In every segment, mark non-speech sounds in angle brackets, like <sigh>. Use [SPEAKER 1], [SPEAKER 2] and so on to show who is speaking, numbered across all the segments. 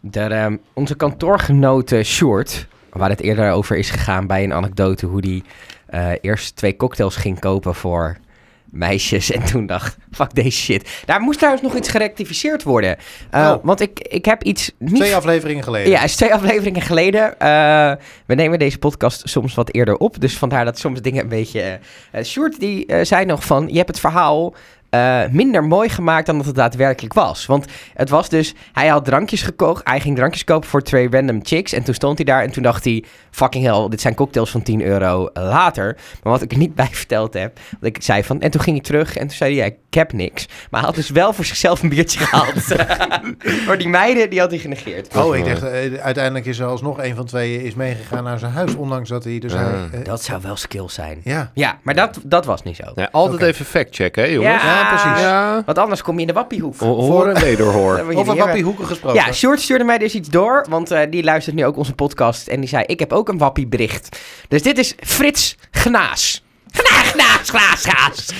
[SPEAKER 1] Daar, ehm, onze kantoorgenote Short, waar het eerder over is gegaan bij een anekdote, hoe die eh, eerst twee cocktails ging kopen voor meisjes en toen dacht, fuck deze shit. Daar moest trouwens nog iets gerectificeerd worden. Eh,
[SPEAKER 2] Oh.
[SPEAKER 1] Want ik, ik heb iets niet...
[SPEAKER 2] Twee afleveringen geleden.
[SPEAKER 1] ja, is twee afleveringen geleden. Eh, we nemen deze podcast soms wat eerder op. Dus vandaar dat soms dingen een beetje. eh, eh, Sjoerd, die eh, zei nog van: Je hebt het verhaal eh, minder mooi gemaakt dan dat het daadwerkelijk was. Want het was dus: Hij had drankjes gekocht. Hij ging drankjes kopen voor twee random chicks. En toen stond hij daar en toen dacht hij: Fucking hell, dit zijn cocktails van 10 euro later. Maar wat ik er niet <laughs> bij verteld heb. Want ik zei van. En toen ging hij terug en toen zei hij: ja, Ik heb niks. Maar hij had dus wel voor zichzelf een biertje gehaald. <laughs> maar die meiden, die had hij genegeerd.
[SPEAKER 2] Oh, ik dacht, eh, uiteindelijk is er alsnog een van tweeën is meegegaan naar zijn huis, ondanks dat hij dus...
[SPEAKER 3] Ah.
[SPEAKER 2] hij, eh,
[SPEAKER 1] Dat zou wel skill zijn.
[SPEAKER 2] ja.
[SPEAKER 1] Ja, maar dat, dat was niet zo.
[SPEAKER 3] Ja, altijd
[SPEAKER 2] Oké.
[SPEAKER 3] even fact-checken, hè, jongens.
[SPEAKER 1] Ja. Ja, precies.
[SPEAKER 3] Ja.
[SPEAKER 1] Want anders kom je in de wappiehoek.
[SPEAKER 3] Ho- Hoor <laughs> en wederhoor.
[SPEAKER 1] Dat moet je
[SPEAKER 2] Over
[SPEAKER 1] niet hebben.
[SPEAKER 2] Wappie Hoeken gesproken.
[SPEAKER 1] Ja, Short stuurde mij dus iets door, want eh, die luistert nu ook onze podcast. En die zei, ik heb ook een wappiebericht. Dus dit is Frits Gnaas. Gnaas, gnaas, gnaas, gnaas.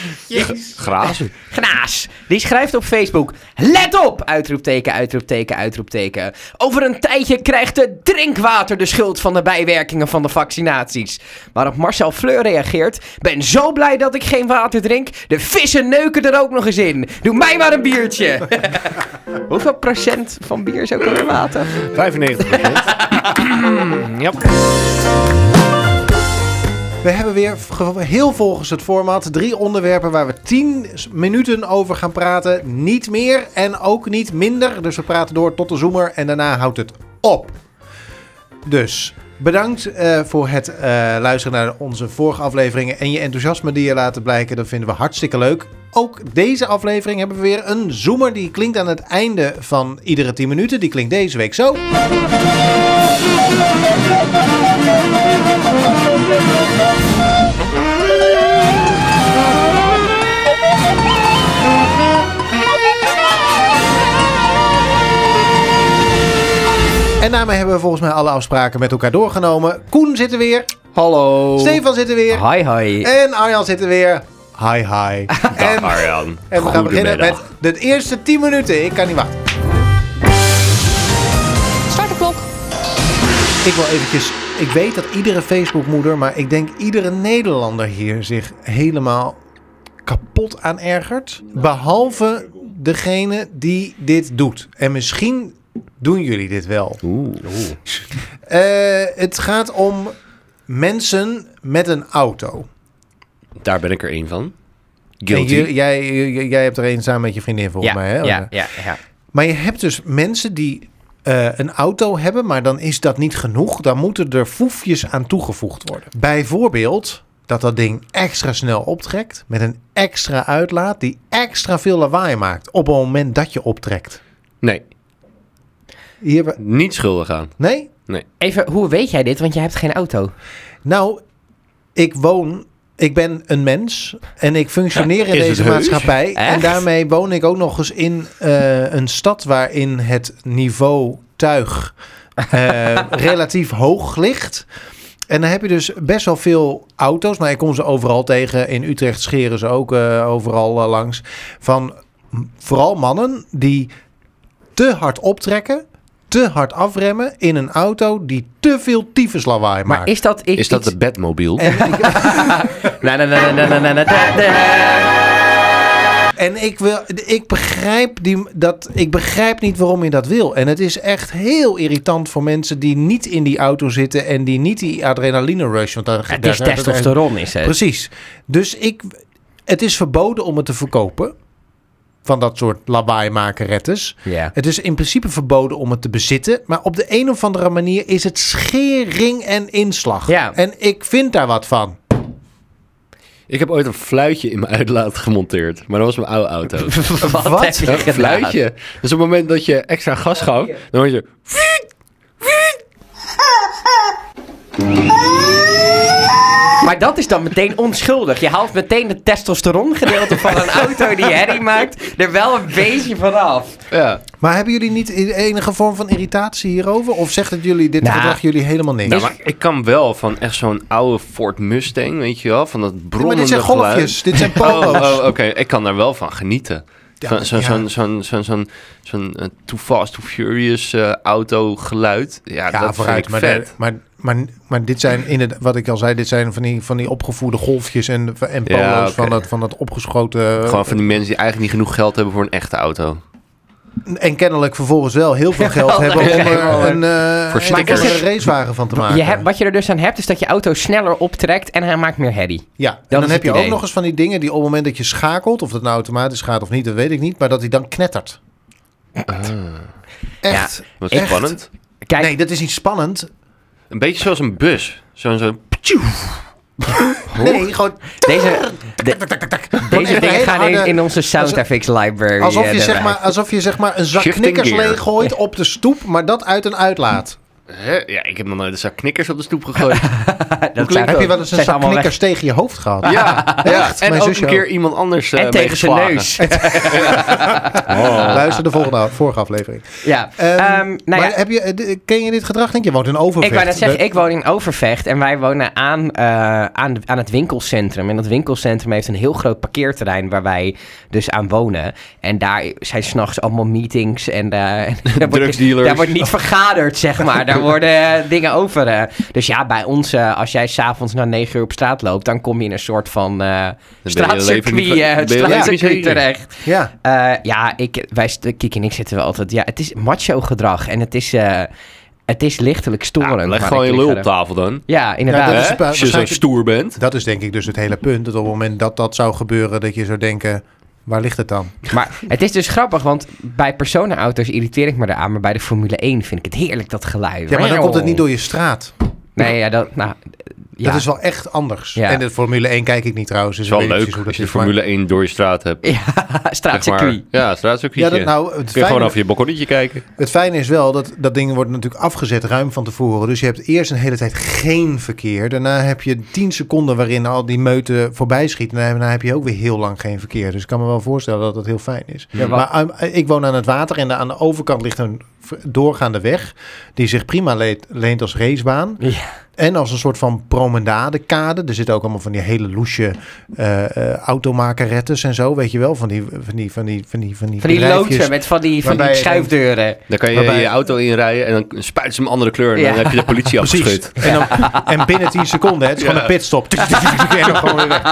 [SPEAKER 3] Grazen.
[SPEAKER 1] Gnaas. Die schrijft op Facebook. Let op! Uitroepteken, uitroepteken, uitroepteken. Over een tijdje krijgt het drinkwater de schuld van de bijwerkingen van de vaccinaties. Waarop Marcel Fleur reageert. Ben zo blij dat ik geen water drink. De vissen neuken er ook nog eens in. Doe mij maar een biertje. Hoeveel procent van bier is ook alweer water?
[SPEAKER 3] 95 <laughs> Ja.
[SPEAKER 2] We hebben weer ge- heel volgens het format drie onderwerpen waar we tien s- minuten over gaan praten. Niet meer en ook niet minder. Dus we praten door tot de zoemer en daarna houdt het op. Dus bedankt eh, voor het eh, luisteren naar onze vorige afleveringen en je enthousiasme die je laten blijken. Dat vinden we hartstikke leuk. Ook deze aflevering hebben we weer een zoemer. Die klinkt aan het einde van iedere 10 minuten. Die klinkt deze week zo. En daarmee hebben we volgens mij alle afspraken met elkaar doorgenomen. Koen zit er weer.
[SPEAKER 1] Hallo.
[SPEAKER 2] Stefan zit er weer.
[SPEAKER 1] Hi, hi.
[SPEAKER 2] En Arjan zit er weer. Hi, hi.
[SPEAKER 3] <laughs> Dag,
[SPEAKER 2] En,
[SPEAKER 3] Arjan.
[SPEAKER 2] en we gaan beginnen met
[SPEAKER 3] Goedemiddag.
[SPEAKER 2] de eerste 10 minuten. Ik kan niet wachten.
[SPEAKER 4] Start de klok.
[SPEAKER 2] Ik wil eventjes... Ik weet dat iedere Facebookmoeder, maar ik denk iedere Nederlander hier zich helemaal kapot aan ergert. Behalve degene die dit doet. En misschien doen jullie dit wel. Eh, het gaat om mensen met een auto.
[SPEAKER 3] Daar ben ik er één van.
[SPEAKER 2] En
[SPEAKER 3] Guilty.
[SPEAKER 2] j- jij, j- jij hebt er een samen met je vriendin volgens
[SPEAKER 1] Ja,
[SPEAKER 2] mij. Hè? eh,
[SPEAKER 1] ja, ja, ja.
[SPEAKER 2] Maar je hebt dus mensen die eh, een auto hebben, maar dan is dat niet genoeg. Dan moeten er foefjes aan toegevoegd worden. Bijvoorbeeld dat dat ding extra snel optrekt met een extra uitlaat die extra veel lawaai maakt op het moment dat je optrekt.
[SPEAKER 3] Nee,
[SPEAKER 2] Hier hebben-
[SPEAKER 3] niet schuldig aan.
[SPEAKER 2] Nee?
[SPEAKER 1] Even, hoe weet jij dit? Want je hebt geen auto.
[SPEAKER 2] Nou, ik woon. Ik ben een mens en ik functioneer in
[SPEAKER 3] Is het
[SPEAKER 2] deze
[SPEAKER 3] heus?
[SPEAKER 2] maatschappij. En
[SPEAKER 1] Echt?
[SPEAKER 2] daarmee woon ik ook nog eens in eh, een stad waarin het niveau tuig
[SPEAKER 3] <laughs>
[SPEAKER 2] eh, relatief hoog ligt. En dan heb je dus best wel veel auto's. Nou, ik kom ze overal tegen. In Utrecht scheren ze ook eh, overal eh, langs. Van m- vooral mannen die te hard optrekken, te hard afremmen in een auto die te veel tyfuslawaai maakt.
[SPEAKER 1] Maar is dat
[SPEAKER 3] Is dat de bedmobiel?
[SPEAKER 1] Na, na, na, na, na, na, na, na, na.
[SPEAKER 2] En ik, wil, ik, begrijp die, dat, ik begrijp niet waarom je dat wil. En het is echt heel irritant voor mensen die niet in die auto zitten en die niet die adrenaline rush. Want daar,
[SPEAKER 1] Het
[SPEAKER 2] daar
[SPEAKER 1] is
[SPEAKER 2] gaat het eigenlijk-
[SPEAKER 1] testosteron, is het.
[SPEAKER 2] Precies. Dus ik, het is verboden om het te verkopen. Van dat soort lawaaimakerettes.
[SPEAKER 1] Ja.
[SPEAKER 2] Het is in principe verboden om het te bezitten. Maar op de een of andere manier is het schering en inslag.
[SPEAKER 1] Ja.
[SPEAKER 2] En ik vind daar wat van.
[SPEAKER 3] Ik heb ooit een fluitje in mijn uitlaat gemonteerd. Maar dat was mijn oude
[SPEAKER 2] <laughs>
[SPEAKER 3] auto.
[SPEAKER 1] <laughs> Wat?
[SPEAKER 2] Wat?
[SPEAKER 1] heb je
[SPEAKER 3] Een
[SPEAKER 1] gedaan?
[SPEAKER 3] fluitje. Dus op het moment dat je extra gas gaf, dan word je...
[SPEAKER 1] Maar dat is dan meteen onschuldig. Je haalt meteen het testosteron gedeelte van een auto die herrie maakt er wel een beetje van af.
[SPEAKER 3] Ja.
[SPEAKER 2] Maar hebben jullie niet i- enige vorm van irritatie hierover? Of zegt het jullie, dit
[SPEAKER 1] Nou,
[SPEAKER 2] gedrag jullie helemaal niks?
[SPEAKER 3] Nou, maar ik kan wel van echt zo'n oude Ford Mustang, weet je wel, van dat
[SPEAKER 2] Ja, maar
[SPEAKER 3] brommende
[SPEAKER 2] dit zijn golfjes,
[SPEAKER 3] geluid.
[SPEAKER 2] dit zijn
[SPEAKER 3] <laughs> Oh,
[SPEAKER 2] polo's.
[SPEAKER 3] oh, oké. Ik kan daar wel van genieten.
[SPEAKER 2] Ja,
[SPEAKER 3] Zo'n zo'n
[SPEAKER 2] ja.
[SPEAKER 3] zo'n zo'n zo'n zo'n zo'n, eh, Too Fast, Too Furious eh, auto geluid. Ja,
[SPEAKER 2] Ja,
[SPEAKER 3] dat
[SPEAKER 2] vooruit.
[SPEAKER 3] vind
[SPEAKER 2] Maar,
[SPEAKER 3] ik vet.
[SPEAKER 2] de- maar, maar, maar dit zijn, inderdaad, wat ik al zei, dit zijn van die, van die opgevoerde golfjes en, en polo's
[SPEAKER 3] Ja, oké.
[SPEAKER 2] van, dat, van dat opgeschoten.
[SPEAKER 3] Gewoon van die mensen die eigenlijk niet genoeg geld hebben voor een echte auto.
[SPEAKER 2] En kennelijk vervolgens wel heel veel
[SPEAKER 3] <laughs>
[SPEAKER 2] geld
[SPEAKER 1] Ja,
[SPEAKER 2] hebben om
[SPEAKER 1] ja,
[SPEAKER 2] er
[SPEAKER 1] ja.
[SPEAKER 2] een, eh,
[SPEAKER 3] Voor
[SPEAKER 2] een
[SPEAKER 3] stickers.
[SPEAKER 2] extra racewagen van te maken.
[SPEAKER 1] Je hebt- wat je er dus aan hebt, is dat je auto sneller optrekt en hij maakt meer herrie.
[SPEAKER 2] ja, en
[SPEAKER 1] is
[SPEAKER 2] dan heb
[SPEAKER 1] het
[SPEAKER 2] je
[SPEAKER 1] idee.
[SPEAKER 2] ook nog eens van die dingen die op het moment dat je schakelt, of dat nou automatisch gaat of niet, dat weet ik niet, maar dat hij dan knettert.
[SPEAKER 3] Ah.
[SPEAKER 2] Echt.
[SPEAKER 3] Wat
[SPEAKER 2] Echt?
[SPEAKER 3] spannend.
[SPEAKER 1] Kijk,
[SPEAKER 2] Nee, dat is niet spannend.
[SPEAKER 3] Een beetje zoals een bus. Zo'n zo'n...
[SPEAKER 2] Nee, gewoon
[SPEAKER 1] deze,
[SPEAKER 2] <laughs>
[SPEAKER 1] de-
[SPEAKER 2] Gewoon
[SPEAKER 1] deze
[SPEAKER 2] echt
[SPEAKER 1] dingen
[SPEAKER 2] hele
[SPEAKER 1] gaan in,
[SPEAKER 2] harde-
[SPEAKER 1] in onze sound
[SPEAKER 2] alsof-
[SPEAKER 1] effects library.
[SPEAKER 2] alsof
[SPEAKER 1] eh,
[SPEAKER 2] je, zeg
[SPEAKER 1] erbij.
[SPEAKER 2] maar, alsof je zeg maar een zak
[SPEAKER 3] Shifting
[SPEAKER 2] knikkers
[SPEAKER 3] gear.
[SPEAKER 2] leeggooit op de stoep, maar dat uit een uitlaat.
[SPEAKER 3] Hè? Ja, ik heb nog nooit een zak knikkers op de
[SPEAKER 2] <laughs>
[SPEAKER 3] stoep gegooid.
[SPEAKER 1] dat
[SPEAKER 3] klinkt
[SPEAKER 2] Heb je wel eens een
[SPEAKER 1] zijn
[SPEAKER 2] zak
[SPEAKER 1] allemaal weg.
[SPEAKER 2] knikkers tegen je hoofd gehad? <laughs>
[SPEAKER 3] ja,
[SPEAKER 2] Echt?
[SPEAKER 3] En
[SPEAKER 2] Mijn
[SPEAKER 3] ook
[SPEAKER 2] zusje
[SPEAKER 3] een keer iemand anders eh,
[SPEAKER 1] en tegen zijn
[SPEAKER 3] meegeslagen.
[SPEAKER 1] neus. <laughs>
[SPEAKER 2] Oh. Luister de volgende, vorige aflevering.
[SPEAKER 1] ja.
[SPEAKER 2] Ehm,
[SPEAKER 1] Ehm, nou
[SPEAKER 2] maar
[SPEAKER 1] ja,
[SPEAKER 2] heb je, eh, d- ken je dit gedrag? Denk je, je woont in Overvecht.
[SPEAKER 1] ik wou net zeggen,
[SPEAKER 2] Dat-
[SPEAKER 1] ik woon in Overvecht en wij wonen aan, eh, aan, aan het winkelcentrum. En dat winkelcentrum heeft een heel groot parkeerterrein waar wij dus aan wonen. En daar zijn s'nachts allemaal meetings en eh, <laughs> en daar wordt-
[SPEAKER 3] Drugsdealers. Oh.
[SPEAKER 1] Daar wordt niet vergaderd, zeg maar.
[SPEAKER 3] <laughs>
[SPEAKER 1] Daar worden eh, dingen over. eh. Dus ja, bij ons, eh, als jij s'avonds na negen uur op straat loopt, dan kom je in een soort van eh
[SPEAKER 3] je leven niet
[SPEAKER 1] straatcircuit
[SPEAKER 3] van-
[SPEAKER 1] eh,
[SPEAKER 3] ben je leven niet
[SPEAKER 1] straatcircuit
[SPEAKER 3] zeker.
[SPEAKER 1] terecht.
[SPEAKER 2] Ja,
[SPEAKER 1] Eh, ja, ik, wij, st- Kiki en ik zitten wel altijd. Ja, het is macho gedrag en het is, eh, het is lichtelijk storend.
[SPEAKER 3] Ja, leg
[SPEAKER 1] maar
[SPEAKER 3] gewoon
[SPEAKER 1] ik
[SPEAKER 3] je
[SPEAKER 1] lig
[SPEAKER 3] lul op
[SPEAKER 1] er-
[SPEAKER 3] tafel dan.
[SPEAKER 1] Ja,
[SPEAKER 2] Ja,
[SPEAKER 1] inderdaad.
[SPEAKER 2] dat
[SPEAKER 3] Hè?
[SPEAKER 2] is
[SPEAKER 3] Als
[SPEAKER 2] pa-
[SPEAKER 3] je zo
[SPEAKER 2] waarschijnlijk-
[SPEAKER 3] stoer bent.
[SPEAKER 2] dat is denk ik dus het hele punt. Dat op het moment dat dat zou gebeuren, dat je zou denken, waar ligt het dan?
[SPEAKER 1] Maar het is dus grappig, want bij personenauto's irriteer ik me eraan. Maar bij de Formule 1 vind ik het heerlijk, dat geluid.
[SPEAKER 2] Ja, maar dan komt het niet door je straat.
[SPEAKER 1] Nee, ja, dat, nou, ja. <laughs>
[SPEAKER 2] Dat is wel echt anders.
[SPEAKER 1] Ja.
[SPEAKER 2] En de Formule 1 kijk ik niet trouwens. Dus
[SPEAKER 3] Het is wel
[SPEAKER 2] ik weet niet
[SPEAKER 3] leuk
[SPEAKER 2] precies hoe
[SPEAKER 3] als je de
[SPEAKER 2] is, maar-
[SPEAKER 3] Formule 1 door je straat hebt. Zeg
[SPEAKER 1] straatcircuit.
[SPEAKER 3] maar. Ja, straatcircuitje.
[SPEAKER 2] Ja, dat, nou, het,
[SPEAKER 3] Kun je
[SPEAKER 2] fijne,
[SPEAKER 3] gewoon over je balkonnetje kijken.
[SPEAKER 2] het fijne is wel dat dat ding wordt natuurlijk afgezet ruim van tevoren. Dus je hebt eerst een hele tijd geen verkeer. Daarna heb je 10 seconden waarin al die meute voorbij schiet. En daarna heb je ook weer heel lang geen verkeer. Dus ik kan me wel voorstellen dat dat heel fijn is.
[SPEAKER 1] Ja, wat-
[SPEAKER 2] Maar um, ik woon aan het water en aan de overkant ligt een v- doorgaande weg. Die zich prima leent, leent als racebaan.
[SPEAKER 1] Ja.
[SPEAKER 2] En als een soort van promenadekade. Er zitten ook allemaal van die hele loesje eh eh, automakerettes en zo. Weet je wel, van die, van die, van die, van die, van die,
[SPEAKER 1] Van die
[SPEAKER 2] bedrijfjes.
[SPEAKER 1] loodsen met van die, van die
[SPEAKER 2] Waarbij je dan-
[SPEAKER 1] schuifdeuren.
[SPEAKER 3] Daar kan je
[SPEAKER 2] Waarbij-
[SPEAKER 3] je auto inrijden en dan spuit ze hem een andere kleur. En
[SPEAKER 1] Ja.
[SPEAKER 3] dan heb je de
[SPEAKER 2] <laughs>
[SPEAKER 3] politie
[SPEAKER 2] Precies.
[SPEAKER 3] afgeschud.
[SPEAKER 2] En, dan, en binnen 10 seconden, hè, het is gewoon
[SPEAKER 3] Ja.
[SPEAKER 2] een pitstop. En dan gewoon weer weg.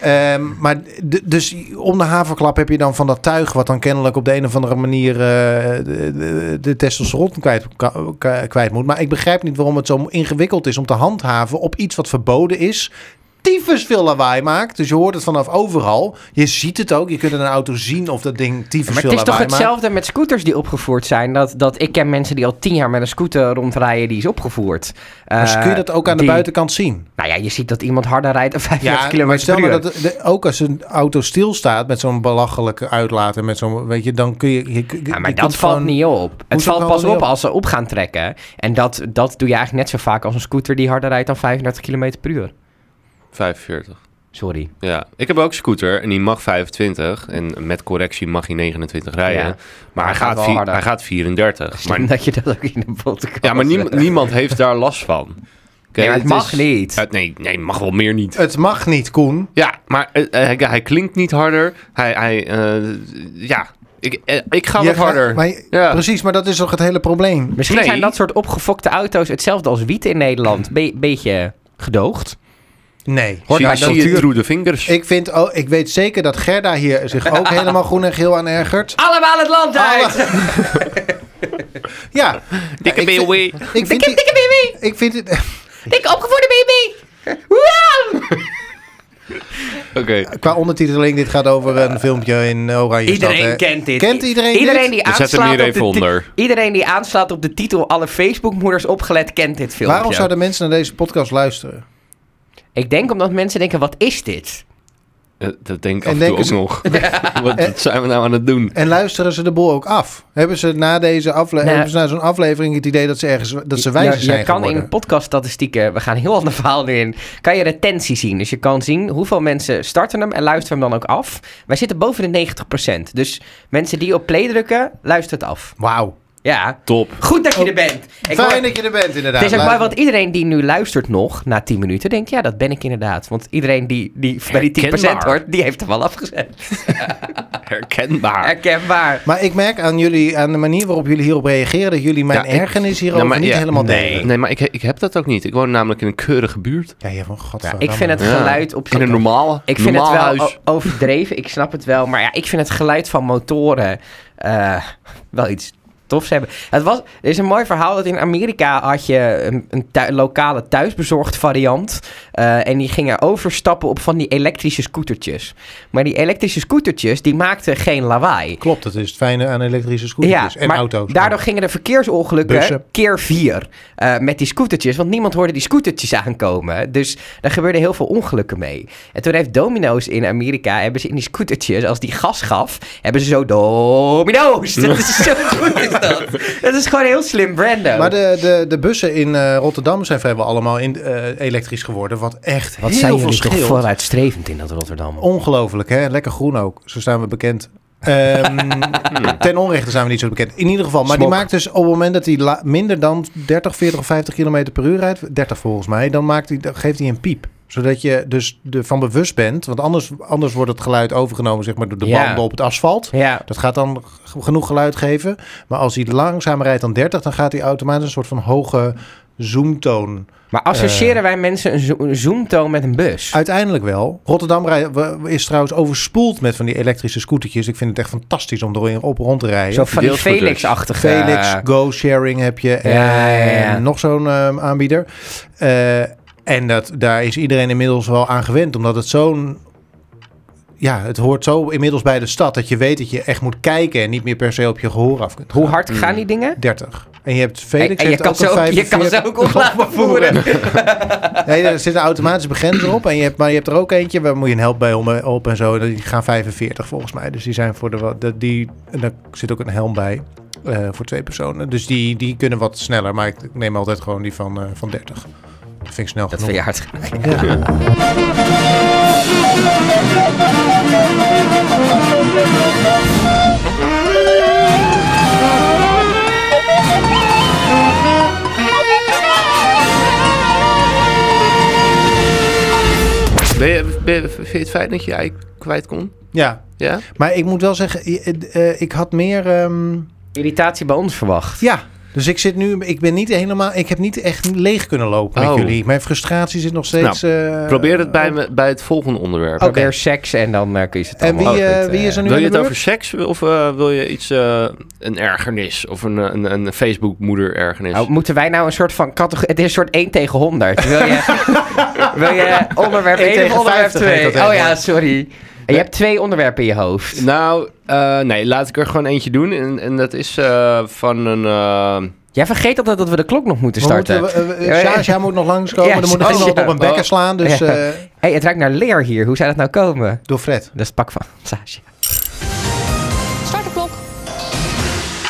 [SPEAKER 2] Ehm, maar d- dus om de haverklap heb je dan van dat tuig... wat dan kennelijk op de een of andere manier eh, de, de, de testosteron kwijt, ka- ka- kwijt moet. Maar ik begrijp niet waarom het zo ingewikkeld is om te handhaven... op iets wat verboden is... Tyfus veel lawaai maakt. Dus je hoort het vanaf overal. Je ziet het ook. Je kunt in een auto zien of dat ding tyfus
[SPEAKER 1] Maar
[SPEAKER 2] veel
[SPEAKER 1] het is toch
[SPEAKER 2] lawaai maakt.
[SPEAKER 1] hetzelfde met scooters die opgevoerd zijn. Dat, dat ik ken mensen die al tien jaar met een scooter rondrijden, die is opgevoerd.
[SPEAKER 2] Maar Dus kun je dat ook aan de
[SPEAKER 1] Eh, die-
[SPEAKER 2] buitenkant zien?
[SPEAKER 1] Nou ja, je ziet dat iemand harder rijdt dan 35 km
[SPEAKER 2] maar
[SPEAKER 1] per
[SPEAKER 2] stel
[SPEAKER 1] uur.
[SPEAKER 2] maar dat de- ook als een auto stilstaat met zo'n belachelijke uitlaat en met zo'n, weet je, dan kun je. je, je
[SPEAKER 1] Ja,
[SPEAKER 2] je
[SPEAKER 1] maar dat
[SPEAKER 2] komt
[SPEAKER 1] valt
[SPEAKER 2] gewoon-
[SPEAKER 1] niet op. Het
[SPEAKER 2] Hoezo
[SPEAKER 1] valt
[SPEAKER 2] valt
[SPEAKER 1] pas
[SPEAKER 2] het niet
[SPEAKER 1] op
[SPEAKER 2] op?
[SPEAKER 1] als ze op gaan trekken. En dat, dat doe je eigenlijk net zo vaak als een scooter die harder rijdt dan 35 km per uur.
[SPEAKER 3] 45.
[SPEAKER 1] Sorry.
[SPEAKER 3] Ja, ik heb ook scooter en die mag 25. En met correctie mag hij 29 rijden.
[SPEAKER 1] Ja.
[SPEAKER 3] Maar hij
[SPEAKER 1] Hij gaat
[SPEAKER 3] gaat,
[SPEAKER 1] wel
[SPEAKER 3] vi-
[SPEAKER 1] harder.
[SPEAKER 3] hij
[SPEAKER 1] <laughs>
[SPEAKER 3] gaat 34. Maar,
[SPEAKER 1] Slim dat je dat ook in de podcast...
[SPEAKER 3] ja, maar niem- niemand heeft daar last van. Oké,
[SPEAKER 1] Nee, maar het
[SPEAKER 3] is-
[SPEAKER 1] mag niet.
[SPEAKER 3] Ja, nee, nee, mag wel meer niet.
[SPEAKER 2] Het mag niet, Koen.
[SPEAKER 3] Ja, maar eh, eh, hij, hij klinkt niet harder. Hij, hij eh, ja, ik, eh, ik ga
[SPEAKER 2] Je
[SPEAKER 3] wat
[SPEAKER 2] gaat-
[SPEAKER 3] harder.
[SPEAKER 2] maar je-
[SPEAKER 3] Ja.
[SPEAKER 2] Precies, maar dat is toch het hele probleem.
[SPEAKER 1] Misschien
[SPEAKER 3] Nee.
[SPEAKER 1] zijn dat soort opgefokte auto's hetzelfde als wiet in Nederland. Be- beetje gedoogd.
[SPEAKER 2] Nee.
[SPEAKER 3] Hoor,
[SPEAKER 2] Maar
[SPEAKER 3] zie, zie je
[SPEAKER 2] natuur-
[SPEAKER 3] through the fingers.
[SPEAKER 2] nou, ik, vind, oh, ik weet zeker dat Gerda hier zich
[SPEAKER 1] <laughs>
[SPEAKER 2] ook helemaal groen en geel aan ergert.
[SPEAKER 1] Allemaal het land uit!
[SPEAKER 2] Ja,
[SPEAKER 3] Dikke
[SPEAKER 2] ik vind-
[SPEAKER 3] BOE.
[SPEAKER 2] ik vind, die-
[SPEAKER 1] dikke baby!
[SPEAKER 2] ik vind het <laughs>
[SPEAKER 1] Dikke opgevoerde baby! Wow!
[SPEAKER 3] Oké.
[SPEAKER 2] qua ondertiteling. Dit gaat over een filmpje in Oranje.
[SPEAKER 1] Iedereen kent dit.
[SPEAKER 2] Kent iedereen
[SPEAKER 1] die
[SPEAKER 2] dit?
[SPEAKER 3] We
[SPEAKER 1] aanslaat
[SPEAKER 3] zetten hem hier
[SPEAKER 1] op de
[SPEAKER 3] even
[SPEAKER 1] ti-
[SPEAKER 3] onder.
[SPEAKER 1] Iedereen die aanslaat op de titel Alle Facebookmoeders opgelet kent dit filmpje.
[SPEAKER 2] Waarom zouden mensen naar deze podcast luisteren?
[SPEAKER 1] Ik denk omdat mensen denken, wat is dit?
[SPEAKER 3] Eh, Dat denk ik
[SPEAKER 2] En
[SPEAKER 3] af en toe ook
[SPEAKER 2] denken ze-
[SPEAKER 3] nog. <laughs> Wat wat zijn we nou aan het doen?
[SPEAKER 2] En luisteren ze de boel ook af? Hebben ze na deze aflevering,
[SPEAKER 1] Nou,
[SPEAKER 2] na zo'n aflevering het idee dat ze ergens dat ze wijzer
[SPEAKER 1] Je- je,
[SPEAKER 2] zijn
[SPEAKER 1] kan
[SPEAKER 2] geworden?
[SPEAKER 1] in podcaststatistieken, we gaan een heel ander verhaal nu in, kan je retentie zien. Dus je kan zien hoeveel mensen starten hem en luisteren hem dan ook af. Wij zitten boven de 90%. Dus mensen die op play drukken, luisteren het af.
[SPEAKER 2] Wauw.
[SPEAKER 1] Ja.
[SPEAKER 3] Top.
[SPEAKER 1] Goed dat je
[SPEAKER 2] Oh,
[SPEAKER 1] er bent. Ik
[SPEAKER 2] Fijn
[SPEAKER 1] hoor-
[SPEAKER 2] dat je er bent, inderdaad.
[SPEAKER 1] het is ook mooi,
[SPEAKER 2] Laat-
[SPEAKER 1] want iedereen die nu luistert nog, na 10 minuten, denkt, ja, dat ben ik inderdaad. Want iedereen die, die bij die 10%
[SPEAKER 3] Herkenbaar.
[SPEAKER 1] hoort, die heeft hem al afgezet.
[SPEAKER 3] herkenbaar.
[SPEAKER 1] Herkenbaar.
[SPEAKER 2] Maar ik merk aan jullie, aan de manier waarop jullie hierop reageren, dat jullie mijn
[SPEAKER 3] Ja, ik-
[SPEAKER 2] ergernis hierover
[SPEAKER 3] Nou, maar
[SPEAKER 2] niet
[SPEAKER 3] ja,
[SPEAKER 2] helemaal
[SPEAKER 1] nee.
[SPEAKER 2] delen.
[SPEAKER 3] Nee, maar ik, ik heb dat ook niet. Ik woon namelijk in een keurige buurt.
[SPEAKER 2] Ja, je van godverdamme.
[SPEAKER 1] Ik vind het
[SPEAKER 3] Ja.
[SPEAKER 1] geluid op
[SPEAKER 3] In een
[SPEAKER 1] zo'n
[SPEAKER 3] normale,
[SPEAKER 1] Ik vind
[SPEAKER 3] normaal
[SPEAKER 1] het wel oh.
[SPEAKER 3] huis.
[SPEAKER 1] o- overdreven, ik snap het wel. Maar ja, ik vind het geluid van motoren eh, wel iets tofs hebben. Het was, er is een mooi verhaal dat in Amerika had je een, een thui- lokale thuisbezorgd variant. eh, en die gingen overstappen op van die elektrische scootertjes. Maar die elektrische scootertjes, die maakten geen lawaai.
[SPEAKER 2] Klopt, dat is het fijne aan elektrische scooters en
[SPEAKER 1] maar
[SPEAKER 2] auto's.
[SPEAKER 1] Daardoor gingen de verkeersongelukken
[SPEAKER 2] Bussen.
[SPEAKER 1] keer vier eh, met die scootertjes. Want niemand hoorde die scootertjes aankomen. Dus daar gebeurde heel veel ongelukken mee. En toen heeft Domino's in Amerika, hebben ze in die scootertjes, als die gas gaf, hebben ze zo
[SPEAKER 2] <laughs>
[SPEAKER 1] Domino's. Dat is zo goed is dat. Dat is gewoon heel slim brando.
[SPEAKER 2] Maar de, de, de bussen in eh, Rotterdam zijn vrijwel allemaal in, eh, elektrisch geworden. Wat echt
[SPEAKER 1] Wat
[SPEAKER 2] heel
[SPEAKER 1] zijn
[SPEAKER 2] veel
[SPEAKER 1] jullie toch
[SPEAKER 2] scheelt.
[SPEAKER 1] vooruitstrevend in dat Rotterdam.
[SPEAKER 2] Ongelooflijk, hè? Lekker groen ook. Zo staan we bekend.
[SPEAKER 1] <laughs>
[SPEAKER 2] Ehm, ten onrechte zijn we niet zo bekend. In ieder geval. Maar
[SPEAKER 1] Smok.
[SPEAKER 2] die maakt dus op het moment dat hij la- minder dan 30, 40 of 50 kilometer per uur rijdt... 30 volgens mij, dan, maakt hij, dan geeft hij een piep. Zodat je dus de, van bewust bent. Want anders, anders wordt het geluid overgenomen zeg maar, door de
[SPEAKER 1] Ja.
[SPEAKER 2] banden op het asfalt.
[SPEAKER 1] Ja.
[SPEAKER 2] Dat gaat dan g- genoeg geluid geven. Maar als hij langzamer rijdt dan 30, dan gaat hij automatisch een soort van hoge zoomtoon.
[SPEAKER 1] Maar associëren
[SPEAKER 2] Eh.
[SPEAKER 1] wij mensen een, zo- een zoomtoon met een bus?
[SPEAKER 2] Uiteindelijk wel. Rotterdam rij- w- is trouwens overspoeld met van die elektrische scootertjes. Ik vind het echt fantastisch om erin op rond te rijden.
[SPEAKER 1] Zo van die
[SPEAKER 3] deels goed dus.
[SPEAKER 1] Felix-achtige... eh,
[SPEAKER 2] Felix, Go Sharing heb je. En
[SPEAKER 1] Ja, ja, ja.
[SPEAKER 2] nog zo'n eh, aanbieder. Eh, en dat, daar is iedereen inmiddels wel aan gewend. Omdat het zo'n... Ja, het hoort zo inmiddels bij de stad. Dat je weet dat je echt moet kijken. En niet meer per se op je gehoor af kunt
[SPEAKER 1] Hoe
[SPEAKER 2] gaan.
[SPEAKER 1] hard gaan die dingen?
[SPEAKER 2] 30. En je hebt Felix.
[SPEAKER 1] en je
[SPEAKER 2] heeft
[SPEAKER 1] kan,
[SPEAKER 2] ook
[SPEAKER 1] ze
[SPEAKER 2] een
[SPEAKER 1] ook, je kan
[SPEAKER 2] 45.
[SPEAKER 1] ze ook op laten voeren.
[SPEAKER 2] <laughs> Nee, er zit een automatische begrenzer op. En je hebt, maar je hebt er ook eentje. Waar moet je een help bij om eh, op en zo. en Die gaan 45 volgens mij. Dus die zijn voor de. wat- de die, en daar zit ook een helm bij. eh, voor twee personen. Dus die, die kunnen wat sneller. Maar ik neem altijd gewoon die van, eh, van 30. Dat vind ik snel
[SPEAKER 1] Dat
[SPEAKER 2] genoeg.
[SPEAKER 1] vind je hard.
[SPEAKER 3] Ben je, ben je- vind je het fijn dat je je ei kwijt kon?
[SPEAKER 2] Ja,
[SPEAKER 3] Ja?
[SPEAKER 2] maar ik moet wel zeggen. eh, eh, ik had meer. ehm,
[SPEAKER 1] Irritatie bij ons verwacht.
[SPEAKER 2] ja. Dus ik zit nu, ik ben niet helemaal, ik heb niet echt leeg kunnen lopen
[SPEAKER 3] Oh. Nou,
[SPEAKER 2] met jullie. Mijn frustratie zit nog steeds. eh,
[SPEAKER 3] Probeer het bij, me, bij het volgende onderwerp.
[SPEAKER 2] Oké.
[SPEAKER 1] Probeer seks en dan eh, kun je het
[SPEAKER 2] En
[SPEAKER 1] allemaal
[SPEAKER 2] wie,
[SPEAKER 1] goed,
[SPEAKER 2] eh,
[SPEAKER 1] eh,
[SPEAKER 2] wie is er nu aan
[SPEAKER 3] Oh, Wil je
[SPEAKER 2] de
[SPEAKER 3] het
[SPEAKER 2] beurt?
[SPEAKER 3] over seks of eh, wil je iets, eh, een ergernis of een, eh, een, een Facebook-moeder-ergernis?
[SPEAKER 1] Nou, moeten wij nou een soort van categorie... Het is een soort 1 tegen 100. Wil je,
[SPEAKER 2] <laughs>
[SPEAKER 1] wil je onderwerp
[SPEAKER 2] 1
[SPEAKER 1] 1 of
[SPEAKER 2] tegen
[SPEAKER 1] onderwerp
[SPEAKER 2] 50 heet
[SPEAKER 1] 2?
[SPEAKER 2] dat
[SPEAKER 1] Oh ja,
[SPEAKER 2] tegenwoordig.
[SPEAKER 1] sorry. En je hebt twee onderwerpen in je hoofd.
[SPEAKER 3] Nou, eh, nee, laat ik er gewoon eentje doen. En, en dat is eh, van een. eh,
[SPEAKER 1] Jij vergeet altijd dat we de klok nog moeten starten.
[SPEAKER 2] We moeten, we- we-
[SPEAKER 1] Ja, ja.
[SPEAKER 2] Sjaasja moet nog langskomen.
[SPEAKER 1] Ja,
[SPEAKER 2] er moet nog
[SPEAKER 1] Sjaasja.
[SPEAKER 2] iemand op een bekken
[SPEAKER 3] Oh.
[SPEAKER 2] slaan. Dus
[SPEAKER 1] Ja.
[SPEAKER 2] eh,
[SPEAKER 1] hey, het ruikt naar leer hier. Hoe zou dat nou komen?
[SPEAKER 2] door Fred.
[SPEAKER 1] Dat is het pak van Sasha.
[SPEAKER 4] Start de klok.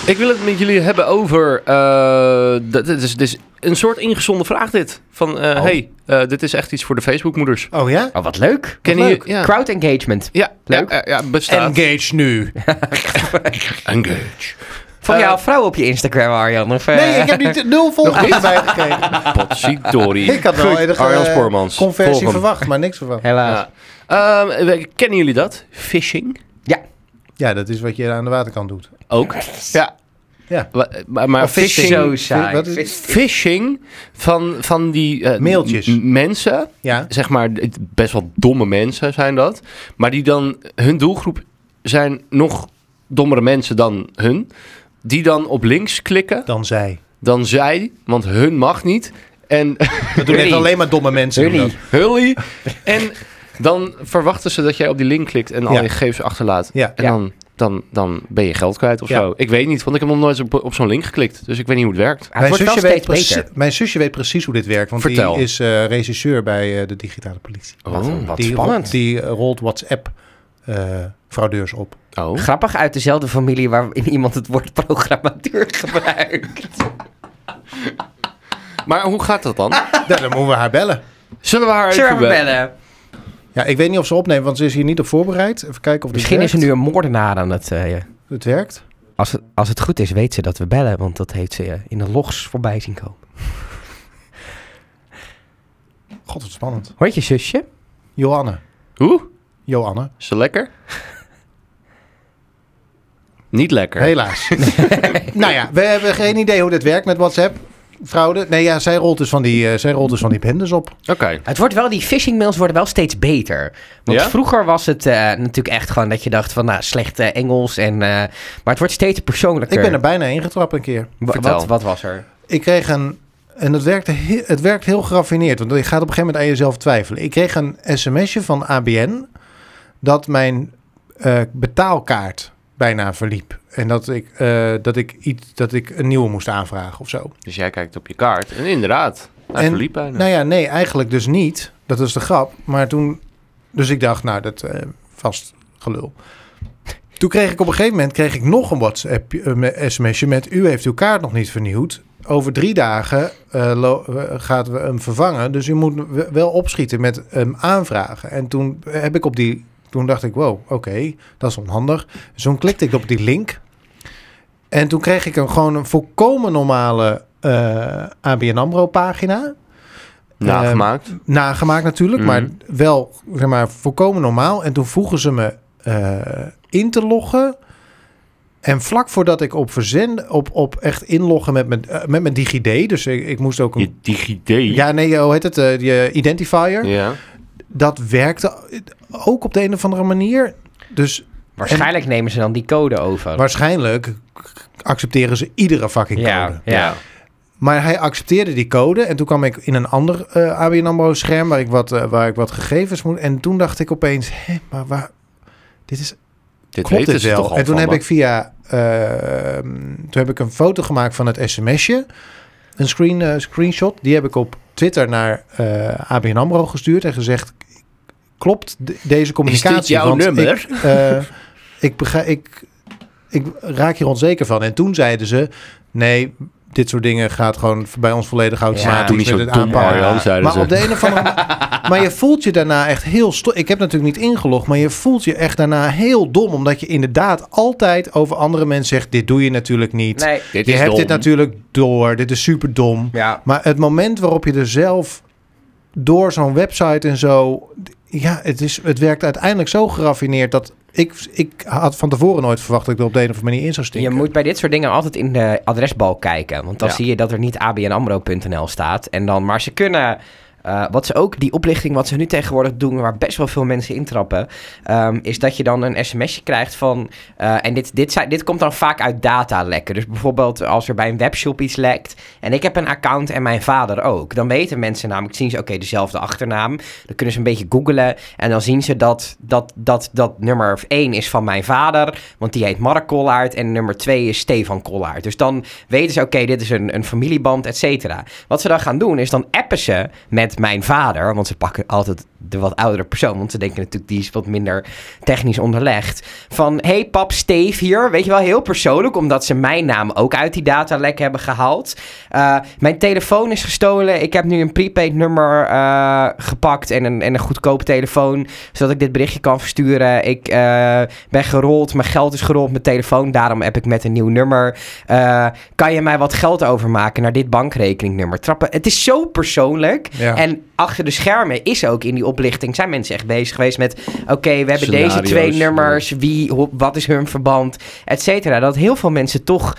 [SPEAKER 3] ik wil het met jullie hebben over. eh, dat, dit, is, dit is een soort ingezonde vraag, dit. Van eh,
[SPEAKER 1] Oh.
[SPEAKER 3] hey, eh, dit is echt iets voor de Facebook-moeders.
[SPEAKER 2] Oh ja?
[SPEAKER 1] Oh, wat leuk.
[SPEAKER 3] Kennen
[SPEAKER 1] Wat leuk.
[SPEAKER 3] jullie- ja.
[SPEAKER 1] Crowd engagement.
[SPEAKER 3] Ja,
[SPEAKER 1] Leuk.
[SPEAKER 3] Ja, ja, ja, bestaat.
[SPEAKER 2] Engage nu.
[SPEAKER 3] Engage.
[SPEAKER 1] Vond
[SPEAKER 3] Eh,
[SPEAKER 1] jou vrouw op je Instagram, Arjan? Of, eh,
[SPEAKER 2] Nee, ik heb niet nul volgers erbij
[SPEAKER 3] <laughs>
[SPEAKER 2] gekregen.
[SPEAKER 3] Potsidori.
[SPEAKER 2] <laughs> Ik had wel
[SPEAKER 3] Goed,
[SPEAKER 2] enige
[SPEAKER 3] Arjan
[SPEAKER 2] eh,
[SPEAKER 3] Spoormans.
[SPEAKER 2] conversie
[SPEAKER 3] Volg hem.
[SPEAKER 2] verwacht, maar niks verwacht.
[SPEAKER 1] Helaas.
[SPEAKER 3] Ja. Ehm, we- kennen jullie dat? Phishing?
[SPEAKER 2] Ja, dat is wat je aan de waterkant doet.
[SPEAKER 3] Ook. Ja.
[SPEAKER 2] Ja.
[SPEAKER 3] Wa- Maar, maar
[SPEAKER 2] Of phishing.
[SPEAKER 1] Zo
[SPEAKER 3] phishing,
[SPEAKER 1] saai.
[SPEAKER 2] Wat is-
[SPEAKER 1] Vis-
[SPEAKER 3] phishing van, van die eh,
[SPEAKER 2] Mailtjes.
[SPEAKER 3] m- mensen,
[SPEAKER 2] Ja.
[SPEAKER 3] zeg maar het- best wel domme mensen zijn dat, maar die dan hun doelgroep zijn nog dommere mensen dan hun, die dan op links klikken,
[SPEAKER 2] Dan zij.
[SPEAKER 3] dan zij, want hun mag niet en <laughs>
[SPEAKER 2] Dat doen echt
[SPEAKER 1] Jullie.
[SPEAKER 2] alleen maar domme mensen. doen
[SPEAKER 1] Jullie.
[SPEAKER 2] dat.
[SPEAKER 3] hully en dan verwachten ze dat jij op die link klikt en al
[SPEAKER 2] Ja.
[SPEAKER 3] je gegevens achterlaat.
[SPEAKER 2] Ja.
[SPEAKER 3] En
[SPEAKER 1] Ja.
[SPEAKER 3] dan, dan, dan ben je geld kwijt of
[SPEAKER 2] Ja.
[SPEAKER 3] zo. Ik weet niet, want ik heb nog nooit op, op zo'n link geklikt. Dus ik weet niet hoe het werkt.
[SPEAKER 1] Ah, het wordt wel
[SPEAKER 2] weet
[SPEAKER 1] steeds
[SPEAKER 2] precie-
[SPEAKER 1] beter.
[SPEAKER 2] mijn zusje weet precies hoe dit werkt. Want
[SPEAKER 3] Vertel.
[SPEAKER 2] die is eh, regisseur bij eh, de digitale politie.
[SPEAKER 3] Oh.
[SPEAKER 1] Wat, wat
[SPEAKER 2] die
[SPEAKER 1] spannend.
[SPEAKER 2] rolt- die eh, rolt WhatsApp-fraudeurs op. <laughs>
[SPEAKER 3] Oh.
[SPEAKER 1] Grappig uit dezelfde familie waarin <laughs> iemand het woord programmateur gebruikt.
[SPEAKER 3] Maar hoe gaat dat dan?
[SPEAKER 2] Ja, dan moeten we haar bellen.
[SPEAKER 3] Zullen we haar even
[SPEAKER 1] Zullen we
[SPEAKER 3] bellen?
[SPEAKER 1] bellen?
[SPEAKER 2] Ja, ik weet niet of ze opneemt, want ze is hier niet op voorbereid. Even kijken of
[SPEAKER 1] Misschien
[SPEAKER 2] het
[SPEAKER 1] is ze
[SPEAKER 2] werkt.
[SPEAKER 1] nu een moordenaar aan het... eh, ja.
[SPEAKER 2] Het werkt.
[SPEAKER 1] als, het als het goed is, weet ze dat we bellen, want dat heeft ze eh, in de logs voorbij zien komen.
[SPEAKER 2] God, wat spannend.
[SPEAKER 1] Hoort je zusje?
[SPEAKER 2] Joanne.
[SPEAKER 3] Hoe?
[SPEAKER 2] Joanne.
[SPEAKER 3] Is ze lekker? <laughs> Niet lekker.
[SPEAKER 1] <laughs>
[SPEAKER 2] Helaas. <laughs> nou ja, we hebben geen idee hoe dit werkt met WhatsApp. Fraude. Nee, ja, zij rolt dus van die, eh, zij rolt dus van die bendes op.
[SPEAKER 3] Oké.
[SPEAKER 1] Het wordt wel, die phishing mails worden wel steeds beter. Want
[SPEAKER 3] Ja?
[SPEAKER 1] vroeger was het eh, natuurlijk echt gewoon dat je dacht van, nou, slecht eh, Engels. En, eh, maar het wordt steeds persoonlijker.
[SPEAKER 2] Ik ben er bijna ingetrapt een keer.
[SPEAKER 1] Wa-
[SPEAKER 3] Vertel.
[SPEAKER 1] Wat, wat was er?
[SPEAKER 2] Ik kreeg een... En het werkt, he- het werkt heel geraffineerd. Want je gaat op een gegeven moment aan jezelf twijfelen. Ik kreeg een sms'je van ABN... dat mijn eh, betaalkaart bijna verliep. En dat ik, eh, dat, ik iets, dat ik een nieuwe moest aanvragen of zo.
[SPEAKER 3] Dus jij kijkt op je kaart. En inderdaad, hij
[SPEAKER 2] En-
[SPEAKER 3] verliep bijna.
[SPEAKER 2] Nou ja, nee, eigenlijk dus niet. Dat is de grap. Maar toen... Dus ik dacht, nou, dat eh, vast gelul. Toen kreeg ik op een gegeven moment kreeg ik nog een WhatsApp eh, me- sms'je met... U heeft uw kaart nog niet vernieuwd. Over drie dagen eh, lo- eh, gaat we hem vervangen. Dus u moet w- wel opschieten met hem aanvragen. En toen heb ik op die... Toen dacht ik, wow, oké, dat is onhandig. Dus toen klikte ik op die link. En toen kreeg ik een, gewoon een volkomen normale eh, ABN AMRO-pagina
[SPEAKER 3] Nagemaakt.
[SPEAKER 2] Ehm, nagemaakt natuurlijk,
[SPEAKER 3] Mhm.
[SPEAKER 2] maar wel zeg maar, volkomen normaal. En toen vroegen ze me eh, in te loggen. En vlak voordat ik op verzend, op, op echt inloggen met mijn, eh, met mijn DigiD, dus ik, ik moest ook een.
[SPEAKER 3] je DigiD.
[SPEAKER 2] Ja, nee, hoe heet het? eh, je identifier.
[SPEAKER 3] Ja.
[SPEAKER 2] Dat werkte ook op de een of andere manier. Dus
[SPEAKER 1] Waarschijnlijk nemen ze dan die code over.
[SPEAKER 2] waarschijnlijk accepteren ze iedere fucking code.
[SPEAKER 1] ja, ja.
[SPEAKER 2] Maar hij accepteerde die code. En toen kwam ik in een ander eh ABN AMRO scherm waar ik, wat, eh, waar ik wat gegevens moet. En toen dacht ik opeens, hé, maar waar... Dit is,
[SPEAKER 3] Dit
[SPEAKER 2] klopt
[SPEAKER 3] weten
[SPEAKER 2] het
[SPEAKER 3] ze toch
[SPEAKER 2] wel?
[SPEAKER 3] al
[SPEAKER 2] En toen
[SPEAKER 3] van
[SPEAKER 2] heb
[SPEAKER 3] me.
[SPEAKER 2] ik via... eh, toen heb ik een foto gemaakt van het sms'je. Een screen, eh, screenshot. Die heb ik op Twitter naar eh, ABN AMRO gestuurd en gezegd... Klopt de- deze communicatie?
[SPEAKER 3] jouw
[SPEAKER 2] Want
[SPEAKER 3] nummer?
[SPEAKER 2] Ik, eh, ik, bega- ik, ik raak hier onzeker van. En toen zeiden ze... Nee, dit soort dingen gaat gewoon bij ons volledig automatisch
[SPEAKER 1] Ja, toen
[SPEAKER 3] niet zo
[SPEAKER 2] met het
[SPEAKER 3] dom,
[SPEAKER 2] aanpakken.
[SPEAKER 3] Arjan, zeiden
[SPEAKER 2] maar
[SPEAKER 3] ze.
[SPEAKER 2] op de
[SPEAKER 3] <laughs>
[SPEAKER 2] een of andere Maar je voelt je daarna echt heel stom. Ik heb natuurlijk niet ingelogd, maar je voelt je echt daarna heel dom. Omdat je inderdaad altijd over andere mensen zegt... Dit doe je natuurlijk niet.
[SPEAKER 1] Nee,
[SPEAKER 3] Dit
[SPEAKER 2] je
[SPEAKER 3] is
[SPEAKER 2] hebt
[SPEAKER 3] dom.
[SPEAKER 2] dit natuurlijk door. Dit is super dom.
[SPEAKER 1] ja.
[SPEAKER 2] Maar het moment waarop je er zelf door zo'n website en zo. Ja, het, is, het werkt uiteindelijk zo geraffineerd dat ik, ik had van tevoren nooit verwacht dat ik er op de een of andere manier in zou
[SPEAKER 1] Je
[SPEAKER 2] stinken.
[SPEAKER 1] moet bij dit soort dingen altijd in de adresbalk kijken. Want dan
[SPEAKER 3] Ja.
[SPEAKER 1] zie je dat er niet abnamro.nl staat. En dan, maar ze kunnen... eh, wat ze ook, die oplichting wat ze nu tegenwoordig doen... waar best wel veel mensen intrappen... ehm, is dat je dan een sms'je krijgt van... eh, en dit, dit, zijn, dit komt dan vaak uit datalekken. Dus bijvoorbeeld als er bij een webshop iets lekt... en ik heb een account en mijn vader ook... dan weten mensen namelijk, zien ze oké, dezelfde achternaam... dan kunnen ze een beetje googlen... en dan zien ze dat, dat, dat, dat nummer 1 is van mijn vader... Want die heet Mark Kollaert en nummer twee is Stefan Kollaert. Dus dan weten ze, oké, dit is een, een familieband, et cetera. Wat ze dan gaan doen, is dan appen ze met mijn vader. Want ze pakken altijd de wat oudere persoon. Want ze denken natuurlijk, die is wat minder technisch onderlegd. Van, hey pap, Steef hier. Weet je wel, heel persoonlijk. Omdat ze mijn naam ook uit die datalek hebben gehaald. Eh, mijn telefoon is gestolen. Ik heb nu een prepaid nummer eh, gepakt en een, en een goedkoop telefoon. Zodat ik dit berichtje kan versturen. Ik... eh, ben gerold, mijn geld is gerold, mijn telefoon, daarom heb ik met een nieuw nummer. Eh, kan je mij wat geld overmaken naar dit bankrekeningnummer? Trappen. Het is zo persoonlijk.
[SPEAKER 2] Ja.
[SPEAKER 1] En achter de schermen is ook in die oplichting zijn mensen echt bezig geweest met: oké, we hebben deze
[SPEAKER 3] Scenario's,
[SPEAKER 1] twee
[SPEAKER 3] ja.
[SPEAKER 1] nummers, wie, ho- wat is hun verband, et cetera. Dat heel veel mensen toch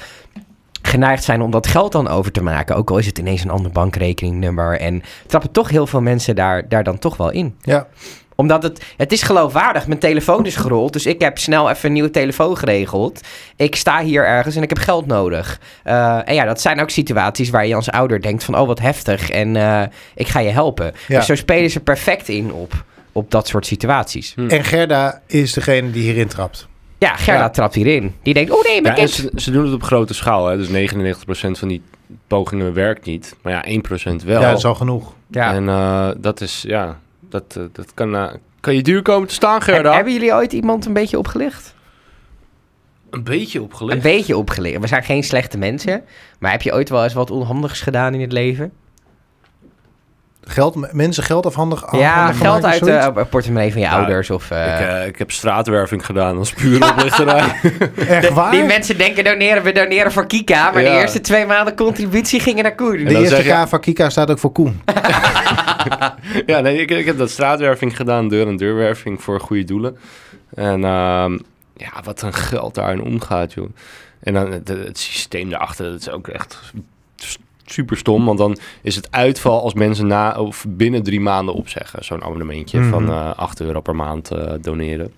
[SPEAKER 1] geneigd zijn om dat geld dan over te maken. Ook al is het ineens een ander bankrekeningnummer. En trappen toch heel veel mensen daar, daar dan toch wel in
[SPEAKER 2] Ja,
[SPEAKER 1] omdat het, het is geloofwaardig. Mijn telefoon is gerold. Dus ik heb snel even een nieuwe telefoon geregeld. Ik sta hier ergens en ik heb geld nodig. Eh, en ja, dat zijn ook situaties waar je als ouder denkt van... oh, wat heftig en eh, ik ga je helpen.
[SPEAKER 2] Ja.
[SPEAKER 1] Dus zo spelen ze perfect in op, op dat soort situaties.
[SPEAKER 2] en Gerda is degene die hierin trapt.
[SPEAKER 1] Ja, Gerda
[SPEAKER 2] Ja.
[SPEAKER 1] trapt hierin. Die denkt, oh nee, mijn
[SPEAKER 3] Ja, en
[SPEAKER 1] kind...
[SPEAKER 3] ze, ze doen het op grote schaal. Hè? Dus 99% van die pogingen werkt niet. Maar ja, 1% wel.
[SPEAKER 2] Ja, dat is al genoeg.
[SPEAKER 1] Ja.
[SPEAKER 3] En eh, dat is, ja, dat, eh, dat kan, eh, kan je duur komen te staan,
[SPEAKER 1] Heb-
[SPEAKER 3] Gerda.
[SPEAKER 1] hebben jullie ooit iemand een beetje opgelicht?
[SPEAKER 3] Een beetje opgelicht.
[SPEAKER 1] Een beetje opgelicht. We zijn geen slechte mensen. Maar heb je ooit wel eens wat onhandigs gedaan in het leven?
[SPEAKER 2] Geld, m- mensen geld afhandig.
[SPEAKER 1] ja,
[SPEAKER 2] afhandig
[SPEAKER 1] geld
[SPEAKER 2] maken,
[SPEAKER 1] uit
[SPEAKER 2] zoiets.
[SPEAKER 1] de portemonnee van je
[SPEAKER 3] Ja,
[SPEAKER 1] ouders of... eh,
[SPEAKER 3] Nou, Ik, eh, ik heb straatwerving gedaan als pure oplichterij.
[SPEAKER 2] Echt waar?
[SPEAKER 1] Die mensen denken doneren, we doneren voor Kika. Maar de
[SPEAKER 3] Ja.
[SPEAKER 1] eerste twee maanden contributie gingen naar Koen.
[SPEAKER 2] de
[SPEAKER 3] dan
[SPEAKER 2] eerste
[SPEAKER 3] zeg je-
[SPEAKER 2] K van Kika staat ook voor Koen.
[SPEAKER 3] ja, nee, ik, ik heb dat straatwerving gedaan, deur- en deurwerving voor goede doelen. En ehm, Ja, wat een geld daarin omgaat, joh. En dan het, het systeem daarachter, dat is ook echt s- super stom. Want dan is het uitval als mensen na of binnen drie maanden opzeggen. Zo'n abonnementje
[SPEAKER 2] Mhm.
[SPEAKER 3] van eh 8 euro per maand eh, doneren.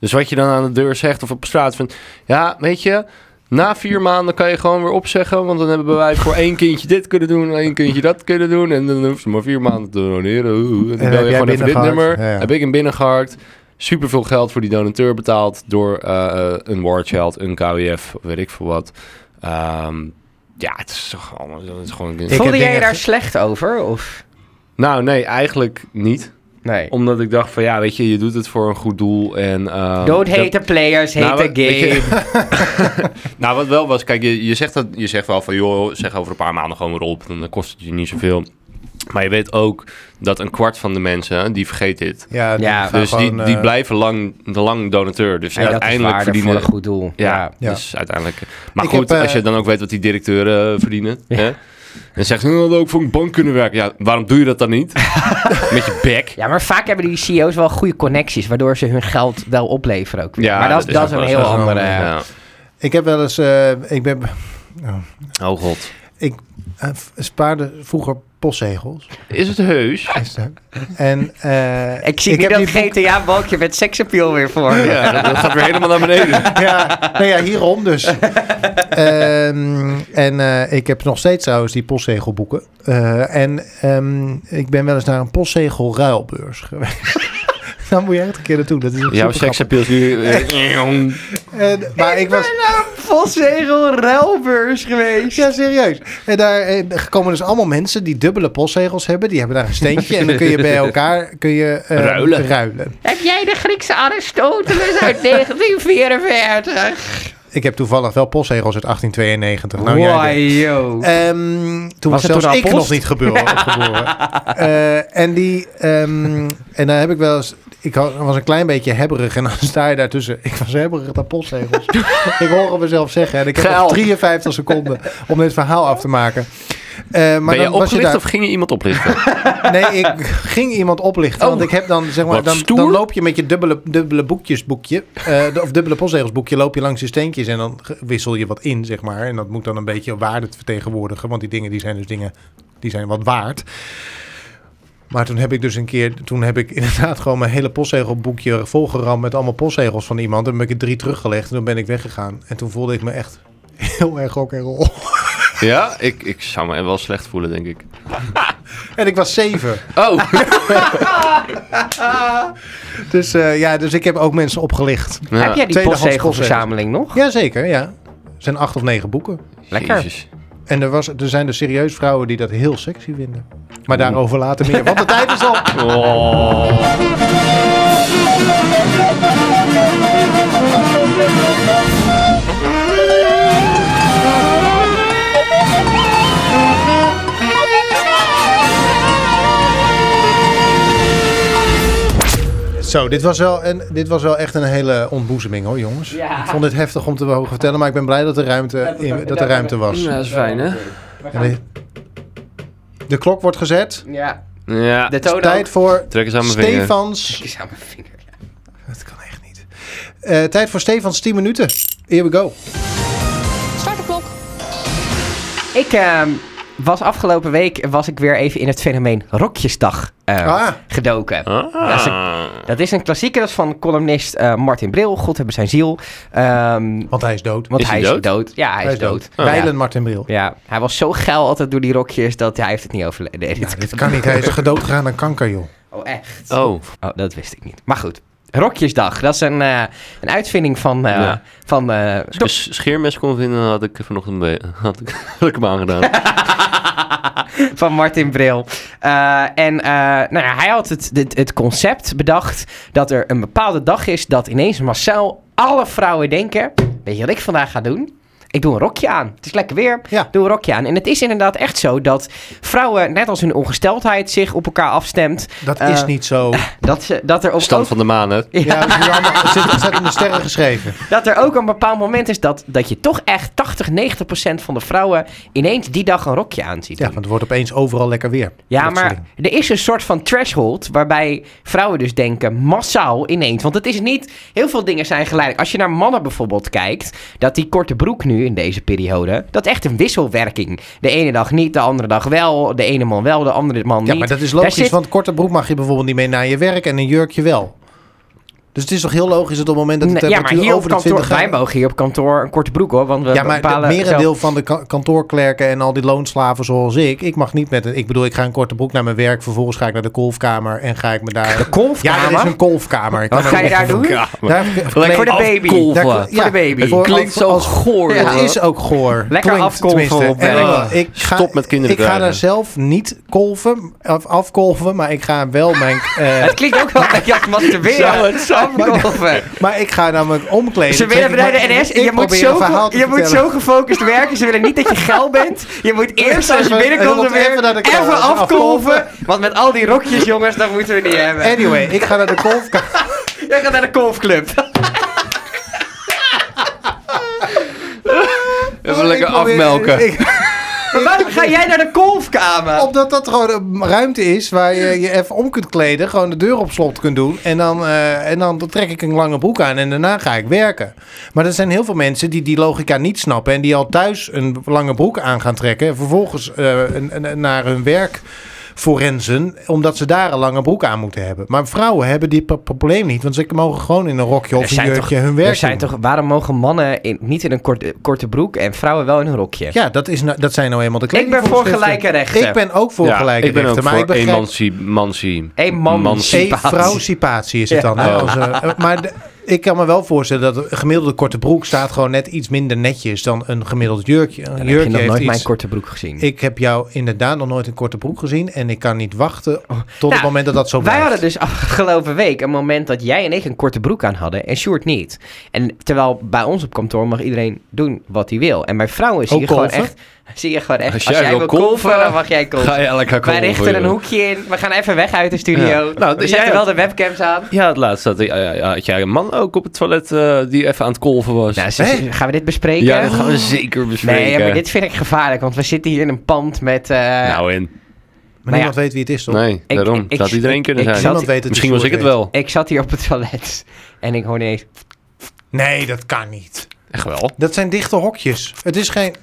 [SPEAKER 3] Dus wat je dan aan de deur zegt of op straat vindt. Ja, weet je, na vier maanden kan je gewoon weer opzeggen. Want dan hebben wij voor één kindje dit kunnen doen, één kindje dat kunnen doen. En dan hoeft ze maar vier maanden te doneren. Oeh, En
[SPEAKER 2] heb
[SPEAKER 3] dan bel
[SPEAKER 2] jij
[SPEAKER 3] je gewoon even dit
[SPEAKER 2] binnengehaakt.
[SPEAKER 3] nummer.
[SPEAKER 2] Ja, ja.
[SPEAKER 3] Heb ik hem binnengehaakt. Super veel geld voor die donateur betaald door eh, eh, een War Child, een KWF, of weet ik veel wat. Ehm, ja, het is toch allemaal. Het is gewoon...
[SPEAKER 2] heb
[SPEAKER 1] Voelde jij je
[SPEAKER 2] dingen
[SPEAKER 1] daar
[SPEAKER 2] ge-
[SPEAKER 1] slecht over? Of?
[SPEAKER 3] Nou, nee, eigenlijk niet.
[SPEAKER 1] Nee.
[SPEAKER 3] Omdat ik dacht van ja, weet je, je doet het voor een goed doel. En, ehm,
[SPEAKER 1] Don't
[SPEAKER 3] dat-
[SPEAKER 1] hate the players, hate
[SPEAKER 3] Nou,
[SPEAKER 1] the
[SPEAKER 3] wat- weet
[SPEAKER 1] game.
[SPEAKER 3] je-
[SPEAKER 1] <laughs>
[SPEAKER 3] <laughs> nou, wat wel was, kijk, je, je, zegt dat, je zegt wel van, joh, zeg over een paar maanden gewoon weer op. Dan kost het je niet zoveel. Maar je weet ook dat een kwart van de mensen, die vergeet dit.
[SPEAKER 2] Ja, die
[SPEAKER 1] Ja,
[SPEAKER 2] gaan
[SPEAKER 3] Dus
[SPEAKER 2] gewoon,
[SPEAKER 3] die, die
[SPEAKER 2] eh,
[SPEAKER 3] blijven lang, de lang donateur. Dus
[SPEAKER 1] Ja, dat is
[SPEAKER 3] uiteindelijk
[SPEAKER 1] waarde
[SPEAKER 3] verdienen...
[SPEAKER 1] voor een goed doel.
[SPEAKER 3] ja,
[SPEAKER 2] Ja.
[SPEAKER 3] dus uiteindelijk... Maar
[SPEAKER 2] Ik
[SPEAKER 3] goed,
[SPEAKER 2] heb, eh,
[SPEAKER 3] als je dan ook weet wat die directeuren eh, verdienen... Hè? Dan zegt ze, "Oh, we hadden ook voor een bank kunnen werken. Ja, waarom doe je dat dan
[SPEAKER 1] <laughs>
[SPEAKER 3] niet? Met je bek.
[SPEAKER 1] Ja, maar vaak hebben die CEO's wel goede connecties, waardoor ze hun geld wel opleveren ook. weer.
[SPEAKER 3] Ja,
[SPEAKER 1] maar dat,
[SPEAKER 3] dat is
[SPEAKER 1] dat is
[SPEAKER 3] ook
[SPEAKER 1] een
[SPEAKER 3] wel
[SPEAKER 1] heel
[SPEAKER 2] zo.
[SPEAKER 1] andere.
[SPEAKER 2] Ja.
[SPEAKER 3] Ja.
[SPEAKER 2] Ik heb wel eens... eh, ik ben,
[SPEAKER 3] Oh god.
[SPEAKER 2] eh, spaarde vroeger postzegels.
[SPEAKER 3] Is het heus?
[SPEAKER 2] <laughs> Is het, hè? En eh,
[SPEAKER 1] Ik zie nu
[SPEAKER 2] heb
[SPEAKER 1] dat
[SPEAKER 2] die boek-
[SPEAKER 1] GTA-balkje met seksappeal weer voor. me.
[SPEAKER 3] Ja, dat, dat gaat weer helemaal naar <laughs> beneden.
[SPEAKER 2] ja, nou ja, hierom
[SPEAKER 3] <laughs>
[SPEAKER 2] dus. Ehm, en eh, ik heb nog steeds trouwens die postzegelboeken. Eh, en ehm, ik ben wel eens naar een postzegelruilbeurs geweest. <laughs> Dan moet je echt een keer naartoe. Dat is echt
[SPEAKER 3] Jouw
[SPEAKER 2] super grappig.
[SPEAKER 3] seksappeals nu... <laughs> eh,
[SPEAKER 2] En- maar ik was...
[SPEAKER 1] Postzegel ruilbeurs geweest.
[SPEAKER 2] Ja, serieus. En daar eh, komen dus allemaal mensen die dubbele postzegels hebben. Die hebben daar een steentje. en dan kun je bij elkaar kun je, eh,
[SPEAKER 3] Ruilen.
[SPEAKER 1] Heb jij de Griekse Aristoteles uit 1944?
[SPEAKER 2] Ik heb toevallig wel postzegels uit 1892.
[SPEAKER 3] Oh,
[SPEAKER 2] Nou, jij
[SPEAKER 1] Why,
[SPEAKER 2] denkt-
[SPEAKER 1] yo.
[SPEAKER 2] Ehm, toen was,
[SPEAKER 1] het
[SPEAKER 2] zelfs
[SPEAKER 1] toen al
[SPEAKER 2] ik
[SPEAKER 1] post?
[SPEAKER 2] nog niet <laughs> geboren. geboren. Eh, en die, ehm, en daar heb ik wel eens, ik had- was een klein beetje hebberig en dan sta je daartussen. Ik was hebberig naar <laughs> postzegels. ik hoor het mezelf zeggen en ik heb nog
[SPEAKER 3] Geld.
[SPEAKER 2] 53 seconden om dit verhaal af te maken. Eh, maar
[SPEAKER 3] ben je
[SPEAKER 2] dan was je
[SPEAKER 3] opgelicht
[SPEAKER 2] daar,
[SPEAKER 3] of ging je iemand oplichten?
[SPEAKER 2] Nee, ik ging iemand oplichten. Want ik heb dan, zeg maar,
[SPEAKER 3] Oh. Wat
[SPEAKER 2] dan,
[SPEAKER 3] stoer.
[SPEAKER 2] dan loop je met je dubbele, dubbele boekjesboekje. eh, de- of dubbele postzegelsboekje. Loop je langs je steentjes en dan ge- wissel je wat in, zeg maar. En dat moet dan een beetje waarde vertegenwoordigen. Want die dingen, die zijn dus dingen, die zijn wat waard. Maar toen heb ik dus een keer, toen heb ik <laughs> inderdaad gewoon mijn hele postzegelboekje volgeramd met allemaal postzegels van iemand. En toen heb ik er drie teruggelegd en toen ben ik weggegaan. En toen voelde ik me echt <laughs> heel erg ook en rol.
[SPEAKER 3] <laughs> Ja, ik, ik zou me wel slecht voelen, denk ik.
[SPEAKER 2] En ik was zeven.
[SPEAKER 3] <laughs> Oh,
[SPEAKER 2] Dus eh, ja, dus ik heb ook mensen opgelicht.
[SPEAKER 1] Heb jij die
[SPEAKER 2] Tweedehands
[SPEAKER 1] postzegelverzameling nog?
[SPEAKER 2] Jazeker, ja. Er zijn acht of negen boeken.
[SPEAKER 1] Lekker.
[SPEAKER 3] Jezus.
[SPEAKER 2] En er, was, er zijn dus serieus vrouwen die dat heel sexy vinden. Maar daarover later meer, want de tijd is op.
[SPEAKER 3] Oh.
[SPEAKER 2] Zo, dit was, wel een, dit was wel echt een hele ontboezeming hoor, jongens.
[SPEAKER 1] Ja.
[SPEAKER 2] Ik vond dit heftig om te mogen vertellen, maar ik ben blij dat er ruimte, in- dat er ruimte was.
[SPEAKER 3] dat is fijn, hè?
[SPEAKER 2] En de, de klok wordt gezet.
[SPEAKER 1] Ja,
[SPEAKER 3] Ja.
[SPEAKER 1] de
[SPEAKER 2] Het is
[SPEAKER 1] toon
[SPEAKER 2] tijd
[SPEAKER 1] ook.
[SPEAKER 2] voor
[SPEAKER 3] Trek eens aan mijn vinger.
[SPEAKER 2] Stefans...
[SPEAKER 1] Is aan mijn vinger.
[SPEAKER 2] Dat kan echt niet. Eh, tijd voor Stefans 10 minuten. Here we go.
[SPEAKER 4] Start de klok.
[SPEAKER 1] Ik ehm, was afgelopen week was ik weer even in het fenomeen Rokjesdag eh,
[SPEAKER 2] Ah.
[SPEAKER 1] gedoken.
[SPEAKER 3] Ah.
[SPEAKER 1] Dat is Dat is een klassieker, dat is van columnist eh, Martin Bril. God hebben zijn ziel. Ehm,
[SPEAKER 2] Want hij is dood.
[SPEAKER 1] want
[SPEAKER 3] Is hij
[SPEAKER 1] hij
[SPEAKER 3] dood?
[SPEAKER 1] is dood. Ja, hij, is dood. Oh, Ja.
[SPEAKER 2] Wijlen Martin Bril.
[SPEAKER 1] Ja, hij was zo geil altijd door die rokjes dat hij heeft het niet overleefd. Nee, dit-
[SPEAKER 2] Dit kan niet. Hij is gedood gegaan aan kanker, joh.
[SPEAKER 1] <laughs> Oh, echt?
[SPEAKER 3] Oh,
[SPEAKER 1] Oh, dat wist ik niet. Maar goed, Rokjesdag, dat is een, eh, een uitvinding van... eh,
[SPEAKER 3] Ja.
[SPEAKER 1] van eh,
[SPEAKER 3] als ik een scheermes kon vinden, had ik vanochtend be- <laughs> had ik, had ik hem aangedaan.
[SPEAKER 1] van Martin Bril. Eh, en eh, nou ja, hij had het, het, het concept bedacht dat er een bepaalde dag is dat ineens massaal alle vrouwen denken: Weet je wat ik vandaag ga doen? Ik doe een rokje aan. Het is lekker weer.
[SPEAKER 2] Ja.
[SPEAKER 1] Doe een rokje aan. En het is inderdaad echt zo dat vrouwen, net als hun ongesteldheid, zich op elkaar afstemt.
[SPEAKER 2] Dat
[SPEAKER 1] Eh,
[SPEAKER 2] is niet
[SPEAKER 1] <laughs>
[SPEAKER 2] zo.
[SPEAKER 1] Dat, ze, dat, er op
[SPEAKER 3] Stand van de maan, hè?
[SPEAKER 1] ook-
[SPEAKER 2] Ja, dat is hier allemaal- er zit- er staat in de sterren geschreven.
[SPEAKER 1] dat er ook een bepaald moment is dat, dat je toch echt 80, 90 procent van de vrouwen ineens die dag een rokje aanziet.
[SPEAKER 2] Ja, want het wordt opeens overal lekker weer.
[SPEAKER 1] Ja,
[SPEAKER 2] Dat soort
[SPEAKER 1] maar
[SPEAKER 2] dingen.
[SPEAKER 1] er is een soort van threshold waarbij vrouwen dus denken massaal ineens. Want het is niet, heel veel dingen zijn geleidelijk. Als je naar mannen bijvoorbeeld kijkt, dat die korte broek nu in deze periode, dat is echt een wisselwerking. De ene dag niet, de andere dag wel, de ene man wel, de andere man niet.
[SPEAKER 2] Ja, maar dat is
[SPEAKER 1] Daar
[SPEAKER 2] logisch,
[SPEAKER 1] zit-
[SPEAKER 2] want korte broek mag je bijvoorbeeld niet mee naar je werk en een jurkje wel. Dus het is toch heel logisch dat op het moment dat de
[SPEAKER 1] Nee, ja, maar
[SPEAKER 2] temperatuur
[SPEAKER 1] hier op
[SPEAKER 2] over de
[SPEAKER 1] kantoor,
[SPEAKER 2] 20
[SPEAKER 1] wij
[SPEAKER 2] graden...
[SPEAKER 1] mogen hier op kantoor een korte broek hoor, want we
[SPEAKER 2] Ja, maar
[SPEAKER 1] bepalen
[SPEAKER 2] het merendeel
[SPEAKER 1] zelf-
[SPEAKER 2] van de ka- kantoorklerken en al die loonslaven zoals ik, ik mag niet met een... Ik bedoel, ik ga een korte broek naar mijn werk, vervolgens ga ik naar de kolfkamer en ga ik me daar... Ja,
[SPEAKER 1] Kolfkamer?
[SPEAKER 2] dat is een kolfkamer. Ik
[SPEAKER 1] Wat
[SPEAKER 2] kan
[SPEAKER 1] ga
[SPEAKER 2] er
[SPEAKER 1] je
[SPEAKER 2] niet-
[SPEAKER 1] daar doen?
[SPEAKER 2] Daar,
[SPEAKER 1] Voor de baby.
[SPEAKER 3] afkolven.
[SPEAKER 2] daar-
[SPEAKER 3] Voor
[SPEAKER 1] de baby.
[SPEAKER 2] voor-
[SPEAKER 3] Klinkt zo goor.
[SPEAKER 2] Het
[SPEAKER 3] joh.
[SPEAKER 2] is ook goor.
[SPEAKER 1] Lekker
[SPEAKER 2] Klinkt
[SPEAKER 1] afkolven
[SPEAKER 2] tenminste.
[SPEAKER 1] op
[SPEAKER 2] En ik-
[SPEAKER 3] werk.
[SPEAKER 2] ik ga,
[SPEAKER 3] Stop met kinderen
[SPEAKER 2] Ik ga
[SPEAKER 3] dweilen.
[SPEAKER 2] daar zelf niet kolven, of afkolven, maar ik ga wel mijn... eh,
[SPEAKER 1] <laughs> Het klinkt ook wel een beetje als masturberen.
[SPEAKER 3] Zou het zo
[SPEAKER 1] Afkolven.
[SPEAKER 2] Maar ik ga namelijk omkleden.
[SPEAKER 1] Ze willen bij de NS en je, moet zo, ge- je moet zo gefocust werken. Ze willen niet dat je geil bent. Je
[SPEAKER 2] <laughs>
[SPEAKER 1] moet eerst als je
[SPEAKER 2] Even-
[SPEAKER 1] binnenkomt
[SPEAKER 2] even
[SPEAKER 1] er weer
[SPEAKER 2] naar de
[SPEAKER 1] even,
[SPEAKER 2] kant, even
[SPEAKER 1] afkolven.
[SPEAKER 2] afkolven.
[SPEAKER 1] Want met al die rokjes, jongens, dat moeten we niet hebben.
[SPEAKER 2] Anyway, ik ga naar de golfkamer.
[SPEAKER 1] Jij gaat naar de
[SPEAKER 2] <laughs>
[SPEAKER 1] golfclub.
[SPEAKER 3] Even lekker afmelken.
[SPEAKER 1] Maar waarom ga jij naar de golfkamer?
[SPEAKER 2] Omdat dat gewoon een ruimte is waar je je even om kunt kleden. Gewoon de deur op slot kunt doen. En dan, eh, en dan trek ik een lange broek aan en daarna ga ik werken. Maar er zijn heel veel mensen die die logica niet snappen. En die al thuis een lange broek aan gaan trekken. En vervolgens eh, een- een- naar hun werk forensen. Omdat ze daar een lange broek aan moeten hebben. Maar vrouwen hebben dit pro- probleem niet. Want ze mogen gewoon in een rokje of een jurkje hun werk
[SPEAKER 1] er zijn
[SPEAKER 2] doen.
[SPEAKER 1] toch, waarom mogen mannen in- niet in een korte, korte broek en vrouwen wel in een rokje?
[SPEAKER 2] Ja, dat, is nou, dat zijn nou eenmaal de
[SPEAKER 1] ben voor
[SPEAKER 2] kledingvoorschriften.
[SPEAKER 1] gelijke rechten.
[SPEAKER 2] Ik ben ook voor
[SPEAKER 3] Ja,
[SPEAKER 2] gelijke
[SPEAKER 3] ik ben
[SPEAKER 2] rechten.
[SPEAKER 3] ook
[SPEAKER 2] maar
[SPEAKER 3] voor
[SPEAKER 2] ik begrijp...
[SPEAKER 3] emanci-
[SPEAKER 1] Emanci-
[SPEAKER 3] emanci-
[SPEAKER 2] Vrouwcipatie is het
[SPEAKER 1] Ja.
[SPEAKER 2] dan.
[SPEAKER 3] Oh.
[SPEAKER 2] hè, als, eh, maar de- ik kan me wel voorstellen dat een gemiddelde korte broek staat gewoon net iets minder netjes dan een gemiddeld jurkje. Een
[SPEAKER 1] Dan heb je
[SPEAKER 2] jurkje
[SPEAKER 1] nog
[SPEAKER 2] heeft
[SPEAKER 1] nooit
[SPEAKER 2] iets...
[SPEAKER 1] mijn korte broek gezien.
[SPEAKER 2] Ik heb jou inderdaad nog nooit een korte broek gezien en ik kan niet wachten tot
[SPEAKER 1] Nou,
[SPEAKER 2] het moment dat dat zo
[SPEAKER 1] Wij
[SPEAKER 2] blijft.
[SPEAKER 1] hadden dus afgelopen week een moment dat jij en ik een korte broek aan hadden en Sjoerd niet. En terwijl bij ons op kantoor mag iedereen doen wat hij wil. En bij vrouwen zie
[SPEAKER 2] Ook
[SPEAKER 1] je gewoon
[SPEAKER 2] kolven?
[SPEAKER 1] echt, zie je gewoon echt
[SPEAKER 3] Als
[SPEAKER 1] als,
[SPEAKER 3] jij
[SPEAKER 1] jij
[SPEAKER 3] wil
[SPEAKER 1] wil kolven,
[SPEAKER 3] kolven,
[SPEAKER 1] dan mag jij kolven.
[SPEAKER 3] Ga je
[SPEAKER 1] Wij
[SPEAKER 3] lekker kolven,
[SPEAKER 1] richten een
[SPEAKER 3] joh.
[SPEAKER 1] hoekje in. We gaan even weg uit de studio.
[SPEAKER 3] Ja. Nou,
[SPEAKER 1] We
[SPEAKER 3] dus
[SPEAKER 1] zetten
[SPEAKER 3] jij
[SPEAKER 1] wel
[SPEAKER 3] had-
[SPEAKER 1] de webcams aan.
[SPEAKER 3] Ja, het laatste had, ja, ja, had jij een man ook op het toilet eh, die even aan het kolven was.
[SPEAKER 1] Nou, zus,
[SPEAKER 2] Hè?
[SPEAKER 1] gaan we dit bespreken?
[SPEAKER 3] Dus- ja, dat gaan we zeker bespreken.
[SPEAKER 1] eh, nee, maar dit vind ik gevaarlijk, want we zitten hier in een pand met... eh,
[SPEAKER 3] Nou in.
[SPEAKER 2] Maar
[SPEAKER 1] Nou
[SPEAKER 2] niemand weet wie het is toch?
[SPEAKER 3] Nee,
[SPEAKER 1] Ik-
[SPEAKER 3] daarom.
[SPEAKER 1] ik-
[SPEAKER 3] dat had iedereen kunnen
[SPEAKER 1] ik
[SPEAKER 3] zijn.
[SPEAKER 1] zat-
[SPEAKER 2] Niemand weet het.
[SPEAKER 3] Misschien
[SPEAKER 2] dus
[SPEAKER 3] was ik het
[SPEAKER 2] Sjoerd
[SPEAKER 3] wel.
[SPEAKER 1] Ik zat hier op het toilet <laughs> en ik hoorde ineens...
[SPEAKER 2] weet. Nee, dat kan niet.
[SPEAKER 3] Echt wel.
[SPEAKER 2] Dat zijn dichte hokjes. Het is geen...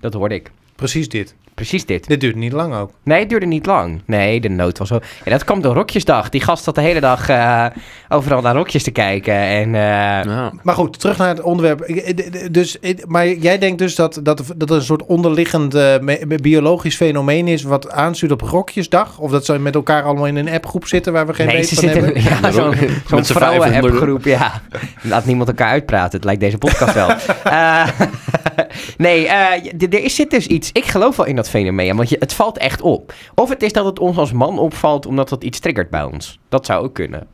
[SPEAKER 1] Dat hoorde ik.
[SPEAKER 2] Precies dit.
[SPEAKER 1] Precies dit.
[SPEAKER 2] Dit duurt niet lang ook.
[SPEAKER 1] Nee, het duurde niet lang. Nee, de nood was zo. En dat kwam door Rokjesdag. Die gast zat de hele dag eh, overal naar rokjes te kijken. En eh,
[SPEAKER 3] Nou,
[SPEAKER 2] Maar goed, terug naar het onderwerp. Ik- d- d- Dus, ik- maar jij denkt dus dat, dat, dat er een soort onderliggend eh, me- me- biologisch fenomeen is... wat aanstuurt op Rokjesdag? Of dat ze met elkaar allemaal in een appgroep zitten waar we geen
[SPEAKER 1] nee,
[SPEAKER 2] weet
[SPEAKER 1] ze
[SPEAKER 2] van
[SPEAKER 1] zitten
[SPEAKER 2] hebben?
[SPEAKER 1] in <laughs> ja, zo'n zo'n
[SPEAKER 3] Met z'n
[SPEAKER 1] vrouwen-appgroep. Ja. Laat niemand elkaar uitpraten. Het lijkt deze podcast
[SPEAKER 3] <laughs>
[SPEAKER 1] wel. Eh, <laughs> nee, eh, d- er is- zit dus iets. Ik geloof wel in dat fenomeen. Want je, het valt echt op. Of het is dat het ons als man opvalt omdat dat iets triggert bij ons. Dat zou ook kunnen.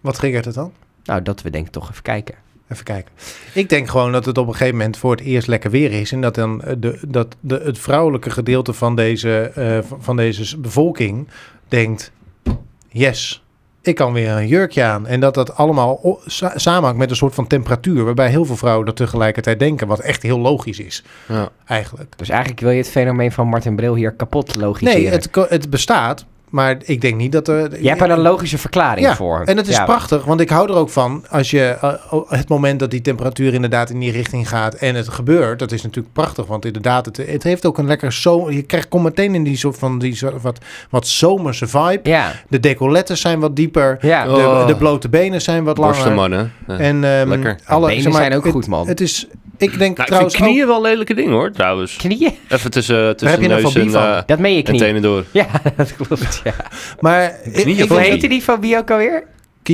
[SPEAKER 2] Wat triggert het dan?
[SPEAKER 1] Nou, dat we denk ik toch even kijken.
[SPEAKER 2] Even kijken. Ik denk gewoon dat het op een gegeven moment voor het eerst lekker weer is. En dat dan eh, de, dat de, het vrouwelijke gedeelte van deze, eh, van- van deze s- bevolking denkt... Yes, ik kan weer een jurkje aan. En dat dat allemaal o- sa- samenhangt met een soort van temperatuur... waarbij heel veel vrouwen dat tegelijkertijd denken. Wat echt heel logisch is,
[SPEAKER 3] ja.
[SPEAKER 2] eigenlijk.
[SPEAKER 1] Dus eigenlijk wil je het fenomeen van Martin Bril hier kapot logiseren.
[SPEAKER 2] Nee, het, ko- het bestaat. Maar ik denk niet dat er...
[SPEAKER 1] Je hebt er een logische verklaring
[SPEAKER 2] Ja,
[SPEAKER 1] voor.
[SPEAKER 2] En het is
[SPEAKER 1] Ja.
[SPEAKER 2] prachtig, want ik hou er ook van als je eh, oh, het moment dat die temperatuur inderdaad in die richting gaat en het gebeurt, dat is natuurlijk prachtig, want inderdaad, het, het heeft ook een lekker zo. Je krijgt komt meteen in die soort van die soort wat, wat zomerse vibe.
[SPEAKER 1] Ja,
[SPEAKER 2] De decollettes zijn wat dieper,
[SPEAKER 1] ja.
[SPEAKER 3] Oh.
[SPEAKER 2] de, de blote benen zijn wat langer.
[SPEAKER 3] Borstenmannen. Ja.
[SPEAKER 2] En ehm,
[SPEAKER 3] Lekker.
[SPEAKER 2] alle
[SPEAKER 1] Benen
[SPEAKER 2] zeg maar,
[SPEAKER 1] zijn ook
[SPEAKER 2] het-
[SPEAKER 1] goed, man.
[SPEAKER 2] Het is, ik denk
[SPEAKER 3] Nou, ik vind
[SPEAKER 2] trouwens ook-
[SPEAKER 3] knieën wel lelijke dingen hoor, trouwens.
[SPEAKER 1] Knieën?
[SPEAKER 3] Even tussen,
[SPEAKER 2] Daar heb
[SPEAKER 3] tussen
[SPEAKER 2] je een
[SPEAKER 3] neus en,
[SPEAKER 2] fobie van.
[SPEAKER 3] eh
[SPEAKER 1] Dat meen je
[SPEAKER 3] en
[SPEAKER 1] knieën.
[SPEAKER 3] tenen door.
[SPEAKER 1] Ja, <laughs> dat klopt. Ja.
[SPEAKER 2] maar ik,
[SPEAKER 3] Knieën
[SPEAKER 2] ik
[SPEAKER 1] Hoe
[SPEAKER 3] fobie.
[SPEAKER 2] denk
[SPEAKER 1] heette die fobie ook alweer?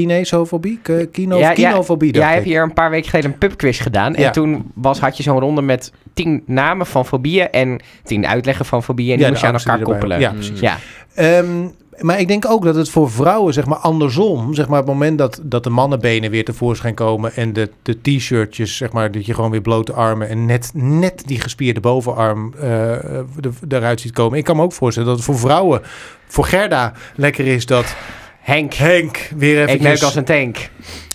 [SPEAKER 2] kinesofobie, Ke- kino,
[SPEAKER 1] Ja, ja.
[SPEAKER 2] kinofobie. dacht
[SPEAKER 1] Jij hebt
[SPEAKER 2] ik.
[SPEAKER 1] hier een paar weken geleden een pubquiz gedaan. En
[SPEAKER 2] Ja.
[SPEAKER 1] toen was, had je zo'n ronde met tien namen van fobieën en tien uitleggen van fobieën. En die
[SPEAKER 2] Ja,
[SPEAKER 1] moest
[SPEAKER 2] de
[SPEAKER 1] je aan
[SPEAKER 2] angsten
[SPEAKER 1] elkaar
[SPEAKER 2] die erbij
[SPEAKER 1] koppelen.
[SPEAKER 2] horen. Ja, precies.
[SPEAKER 1] Ja.
[SPEAKER 2] Ehm, maar ik denk ook dat het voor vrouwen, zeg maar andersom, zeg maar het moment dat, dat de mannenbenen weer tevoorschijn komen en de, de t-shirtjes, zeg maar, dat je gewoon weer blote armen en net, net die gespierde bovenarm eh, eh, er- eruit ziet komen. Ik kan me ook voorstellen dat het voor vrouwen, voor Gerda, lekker is dat
[SPEAKER 1] Henk,
[SPEAKER 2] Henk weer
[SPEAKER 1] ik neuk als
[SPEAKER 2] even
[SPEAKER 1] een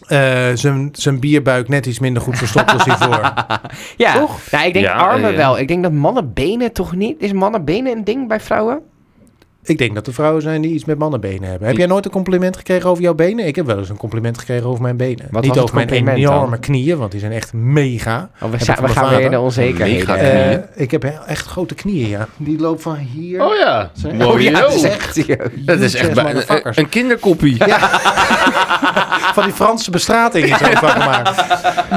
[SPEAKER 1] tank.
[SPEAKER 2] zijn bierbuik net iets minder goed verstopt als
[SPEAKER 1] <laughs>
[SPEAKER 2] hiervoor.
[SPEAKER 1] Ja, Nou, ik denk
[SPEAKER 3] Ja,
[SPEAKER 1] armen
[SPEAKER 3] ja.
[SPEAKER 1] wel. Ik denk dat mannenbenen toch niet... Is mannenbenen een ding bij vrouwen? Oh,
[SPEAKER 2] Ik denk dat er vrouwen zijn die iets met mannenbenen hebben. Heb jij nooit een compliment gekregen over jouw benen? Ik heb wel eens een compliment gekregen over mijn benen.
[SPEAKER 1] Wat was
[SPEAKER 2] Niet
[SPEAKER 1] het
[SPEAKER 2] over mijn
[SPEAKER 1] compliment
[SPEAKER 2] enorme
[SPEAKER 1] dan?
[SPEAKER 2] knieën, want die zijn echt mega.
[SPEAKER 1] Oh, we,
[SPEAKER 2] ik
[SPEAKER 1] za-
[SPEAKER 2] van
[SPEAKER 1] we
[SPEAKER 2] mijn
[SPEAKER 1] gaan weer
[SPEAKER 2] vader.
[SPEAKER 1] in de onzekerheden.
[SPEAKER 3] Mega
[SPEAKER 1] Eh,
[SPEAKER 3] knieën.
[SPEAKER 2] Eh, ik heb he- echt grote knieën, ja. Die loopt van hier.
[SPEAKER 3] Oh ja.
[SPEAKER 2] Zeg-
[SPEAKER 3] Wow,
[SPEAKER 1] oh ja,
[SPEAKER 3] yo.
[SPEAKER 1] dat is echt...
[SPEAKER 3] Dat is
[SPEAKER 2] Zeg,
[SPEAKER 3] echt bijna
[SPEAKER 2] motherfuckers.
[SPEAKER 3] een, een kinderkoppie.
[SPEAKER 2] Van die Franse bestrating <laughs> is er van gemaakt.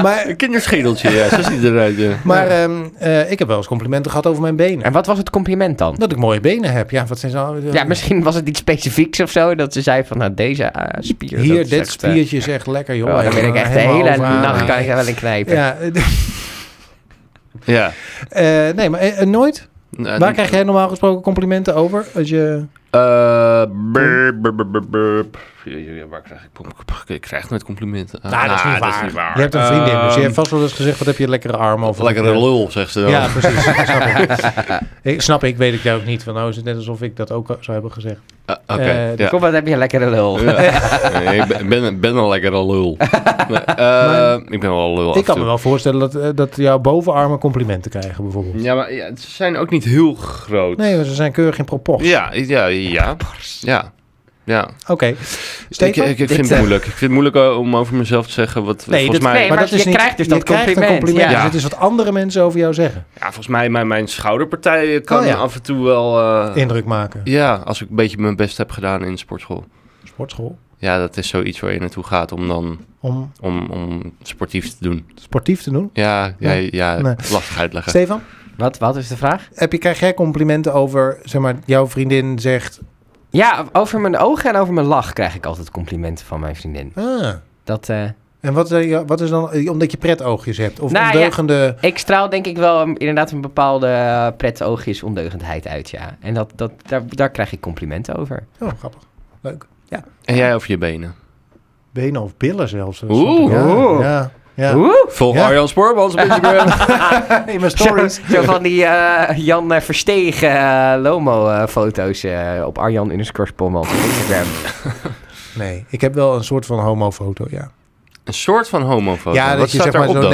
[SPEAKER 2] Maar,
[SPEAKER 3] Een kinderschedeltje, ja. Zo ziet het eruit, ja.
[SPEAKER 2] maar ehm, eh, ik heb wel eens complimenten gehad over mijn benen.
[SPEAKER 1] En wat was het compliment dan?
[SPEAKER 2] Dat eh, ik mooie benen heb. Ja, wat zijn ze al-
[SPEAKER 1] Ja, misschien was het iets specifieks of zo. Dat ze zei van, nou, deze eh, spier... dat
[SPEAKER 2] Hier,
[SPEAKER 1] is
[SPEAKER 2] dit
[SPEAKER 1] echt, eh,
[SPEAKER 2] spiertje is echt lekker, joh.
[SPEAKER 1] oh, dan ben ik echt de hele
[SPEAKER 2] Helemaal
[SPEAKER 1] nacht kan
[SPEAKER 2] overaan.
[SPEAKER 1] ik er wel in knijpen.
[SPEAKER 2] Ja, <laughs>
[SPEAKER 3] ja.
[SPEAKER 2] eh, nee, maar eh, eh, nooit?
[SPEAKER 3] Nou,
[SPEAKER 2] Waar krijg jij normaal gesproken complimenten over? Als je...
[SPEAKER 3] Eh, brr, brr, brr, brr, brr. Ja, ja, ja, Waar krijg ik... Ik krijg nooit complimenten. Ah,
[SPEAKER 2] Nou, dat is niet waar.
[SPEAKER 3] waar.
[SPEAKER 2] Je hebt een vriendin, dus je
[SPEAKER 3] Ehm,
[SPEAKER 2] hebt vast wel eens gezegd... wat heb je lekkere armen
[SPEAKER 3] Of
[SPEAKER 2] over.
[SPEAKER 3] lekkere lul, zegt ze dan.
[SPEAKER 2] Ja,
[SPEAKER 3] <laughs>
[SPEAKER 2] precies. snap ik. ik. Snap ik, weet ik dat ook niet. Want nou is het net alsof ik dat ook zou hebben gezegd.
[SPEAKER 3] Ah, Oké,
[SPEAKER 2] Eh,
[SPEAKER 3] ja.
[SPEAKER 1] Kom, wat heb je een lekkere lul.
[SPEAKER 3] Ja. Nee, ik ben- ben, ben een lekkere
[SPEAKER 2] <laughs>
[SPEAKER 3] lul. Nee, eh, ik ben wel een lul af
[SPEAKER 2] ik kan
[SPEAKER 3] en
[SPEAKER 2] me
[SPEAKER 3] toe.
[SPEAKER 2] wel voorstellen dat, eh, dat jouw bovenarmen complimenten krijgen, bijvoorbeeld.
[SPEAKER 3] Ja, maar ja, ze zijn ook niet heel groot.
[SPEAKER 2] Nee, maar ze zijn keurig in proportie.
[SPEAKER 3] Ja, ja, ja. Ja. Ja,
[SPEAKER 2] Oké.
[SPEAKER 3] ik,
[SPEAKER 2] Stefan?
[SPEAKER 3] ik, ik
[SPEAKER 1] Dit,
[SPEAKER 3] vind
[SPEAKER 1] eh,
[SPEAKER 3] het moeilijk. Ik vind het moeilijk eh, om over mezelf te zeggen wat volgens mij.
[SPEAKER 1] nee, maar je krijgt dus
[SPEAKER 2] je
[SPEAKER 1] dat
[SPEAKER 2] krijgt een
[SPEAKER 1] compliment, ja.
[SPEAKER 2] Dus het is wat andere mensen over jou zeggen.
[SPEAKER 3] Ja, volgens mij mijn, mijn schouderpartij kan
[SPEAKER 2] Oh, ja.
[SPEAKER 3] af en toe wel. eh,
[SPEAKER 2] Indruk maken.
[SPEAKER 3] ja, als ik een beetje mijn best heb gedaan in de sportschool.
[SPEAKER 2] Sportschool.
[SPEAKER 3] Ja, dat is zoiets waar je naartoe gaat om dan
[SPEAKER 2] Om
[SPEAKER 3] om, om sportief te doen.
[SPEAKER 2] sportief te doen.
[SPEAKER 3] Ja, ja,
[SPEAKER 2] Nee,
[SPEAKER 3] ja
[SPEAKER 2] nee.
[SPEAKER 3] lastig uitleggen.
[SPEAKER 2] Stefan,
[SPEAKER 1] Wat, wat is de vraag?
[SPEAKER 2] heb je, krijg jij complimenten over, zeg maar, jouw vriendin zegt...
[SPEAKER 1] Ja, over mijn ogen en over mijn lach krijg ik altijd complimenten van mijn vriendin.
[SPEAKER 2] Ah,
[SPEAKER 1] Dat, eh,
[SPEAKER 2] en wat, eh, ja, wat is dan... Omdat je pretoogjes hebt? Of
[SPEAKER 1] Nou, ja.
[SPEAKER 2] ondeugende...
[SPEAKER 1] ik straal denk ik wel een- inderdaad een bepaalde eh, pret oogjes ondeugendheid uit, ja. En dat, dat, daar, daar krijg ik complimenten over.
[SPEAKER 2] Oh, grappig. Leuk.
[SPEAKER 3] En jij over je benen.
[SPEAKER 2] Benen of billen zelfs. dat
[SPEAKER 3] Oeh.
[SPEAKER 2] snap ik. Ja,
[SPEAKER 1] Oeh.
[SPEAKER 2] Ja. ja.
[SPEAKER 1] Oeh!
[SPEAKER 3] Volg
[SPEAKER 2] Ja.
[SPEAKER 3] Arjan Spoorbans op Instagram.
[SPEAKER 2] In mijn
[SPEAKER 1] Zo,
[SPEAKER 2] stories.
[SPEAKER 1] <laughs> zo van die eh, Jan eh, Verstegen eh, Lomo-foto's op Arjan underscore Spolman op Instagram.
[SPEAKER 2] Nee, ik heb wel een soort van homofoto, ja.
[SPEAKER 3] <laughs> een soort van homofoto.
[SPEAKER 2] ja,
[SPEAKER 3] Wat staat daarop dan?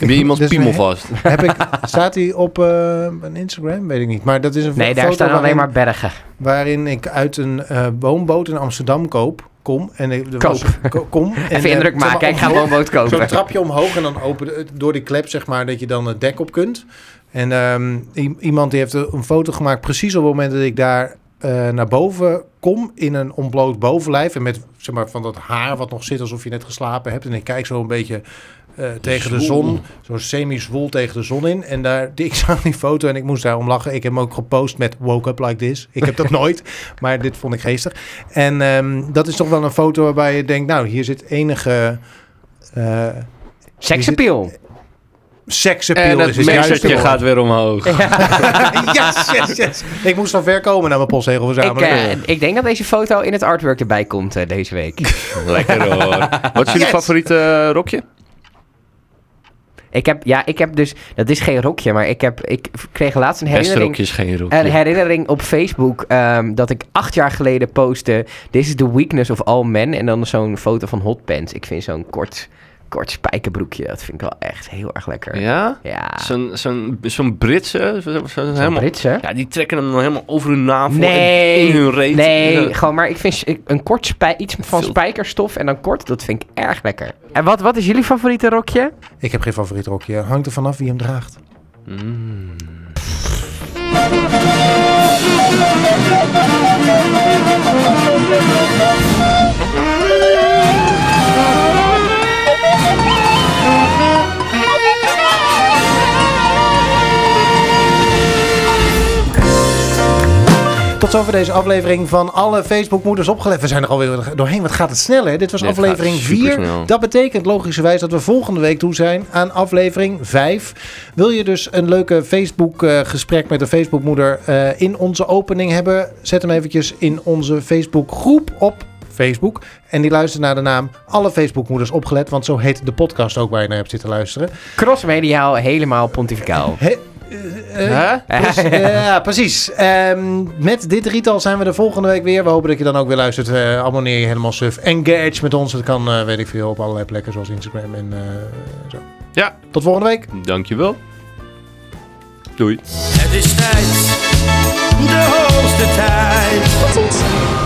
[SPEAKER 1] <laughs>
[SPEAKER 3] Heb je iemands
[SPEAKER 1] Dus
[SPEAKER 2] dat is een
[SPEAKER 3] piemel
[SPEAKER 2] he-
[SPEAKER 3] vast?
[SPEAKER 2] Heb ik, staat hij op eh, een Instagram? Weet ik niet. Maar dat is een
[SPEAKER 1] Nee, daar
[SPEAKER 2] foto
[SPEAKER 1] staan alleen
[SPEAKER 2] waarin-
[SPEAKER 1] maar bergen.
[SPEAKER 2] waarin ik uit een eh, woonboot in Amsterdam koop. Kom. En ik, er was- ko- kom. en,
[SPEAKER 1] <laughs> Even
[SPEAKER 2] eh,
[SPEAKER 1] indruk
[SPEAKER 2] zeg maar,
[SPEAKER 1] maken, ik ga
[SPEAKER 2] omhoog-
[SPEAKER 1] woonboot kopen.
[SPEAKER 2] Zo'n trapje omhoog en dan open eh, door die klep, zeg maar, dat je dan het dek op kunt. En ehm, i- iemand die heeft een foto gemaakt precies op het moment dat ik daar eh, naar boven kom in een ontbloot bovenlijf. En met, zeg maar, van dat haar wat nog zit alsof je net geslapen hebt. En ik kijk zo een beetje eh, tegen de
[SPEAKER 3] Zwoel.
[SPEAKER 2] zon, zo semi-zwol tegen de zon in. En daar, <laughs> ik zag die foto en ik moest daarom lachen. Ik heb hem ook gepost met woke up like this. Ik heb dat nooit, maar dit vond ik geestig. En ehm, dat is toch wel een foto waarbij je denkt, nou, hier zit enige... eh,
[SPEAKER 1] Seksappeal.
[SPEAKER 3] En
[SPEAKER 2] Seksappeal is
[SPEAKER 3] het
[SPEAKER 2] het juiste
[SPEAKER 3] meestertje
[SPEAKER 2] woord. <laughs>
[SPEAKER 3] gaat weer omhoog.
[SPEAKER 2] yes, yes, yes. Ik moest van ver komen naar mijn postzegel
[SPEAKER 1] Ik,
[SPEAKER 2] verzamelen.
[SPEAKER 1] eh, ik denk dat deze foto in het artwork erbij komt eh, deze week.
[SPEAKER 3] <laughs> Lekker hoor. Wat is jullie
[SPEAKER 2] Yes.
[SPEAKER 3] favoriete eh, rokje?
[SPEAKER 1] ik heb, ja, ik heb dus, dat is geen rokje, maar ik, heb, ik kreeg laatst een
[SPEAKER 3] Beste
[SPEAKER 1] herinnering,
[SPEAKER 3] rokje is geen
[SPEAKER 1] een
[SPEAKER 3] rokje.
[SPEAKER 1] herinnering op Facebook ehm, dat ik acht jaar geleden postte, this is the weakness of all men, en dan zo'n foto van hot pants. Ik vind zo'n kort, kort spijkerbroekje, dat vind ik wel echt heel erg lekker.
[SPEAKER 3] Ja?
[SPEAKER 1] Ja.
[SPEAKER 3] Zo'n zo'n zo'n Britse? Zo, zo- zo-
[SPEAKER 1] Zo'n
[SPEAKER 3] helemaal,
[SPEAKER 1] Britse?
[SPEAKER 3] ja, die trekken hem dan helemaal over hun navel en
[SPEAKER 1] Nee,
[SPEAKER 3] in hun reet.
[SPEAKER 1] nee,
[SPEAKER 3] Ja.
[SPEAKER 1] gewoon maar ik vind s- ik- een kort spij, iets van
[SPEAKER 3] Veel-
[SPEAKER 1] spijkerstof en dan kort, dat vind ik erg lekker. En wat, wat is jullie favoriete rokje?
[SPEAKER 2] Ik heb geen favoriet rokje. Hangt er vanaf wie hem draagt.
[SPEAKER 3] Mm.
[SPEAKER 2] Tot Tot zover deze aflevering van alle Facebookmoeders opgelegd. We zijn er alweer doorheen. Wat gaat het snel, hè? Dit was
[SPEAKER 3] Dit gaat
[SPEAKER 2] aflevering 4.
[SPEAKER 3] supersnel.
[SPEAKER 2] Dat betekent logischerwijs dat we volgende week toe zijn aan aflevering 5. Wil je dus een leuke Facebook-gesprek met een Facebookmoeder eh, in onze opening hebben? Zet hem eventjes in onze Facebookgroep op Facebook. En die luistert naar de naam Alle Facebookmoeders Opgelet. Want zo heet de podcast ook waar je naar hebt zitten luisteren.
[SPEAKER 1] Crossmediaal, helemaal pontificaal.
[SPEAKER 2] He- eh, eh, dus, eh, ja, precies. Ehm, met dit drietal zijn we er volgende week weer. We hopen dat je dan ook weer luistert. Eh, abonneer je helemaal suf. Engage met ons. Dat kan, eh, weet ik veel, op allerlei plekken zoals Instagram en eh, zo.
[SPEAKER 3] Ja.
[SPEAKER 2] Tot volgende week.
[SPEAKER 3] Dankjewel. Doei.
[SPEAKER 5] Het is tijd, de hoogste tijd.
[SPEAKER 4] Tot ziens.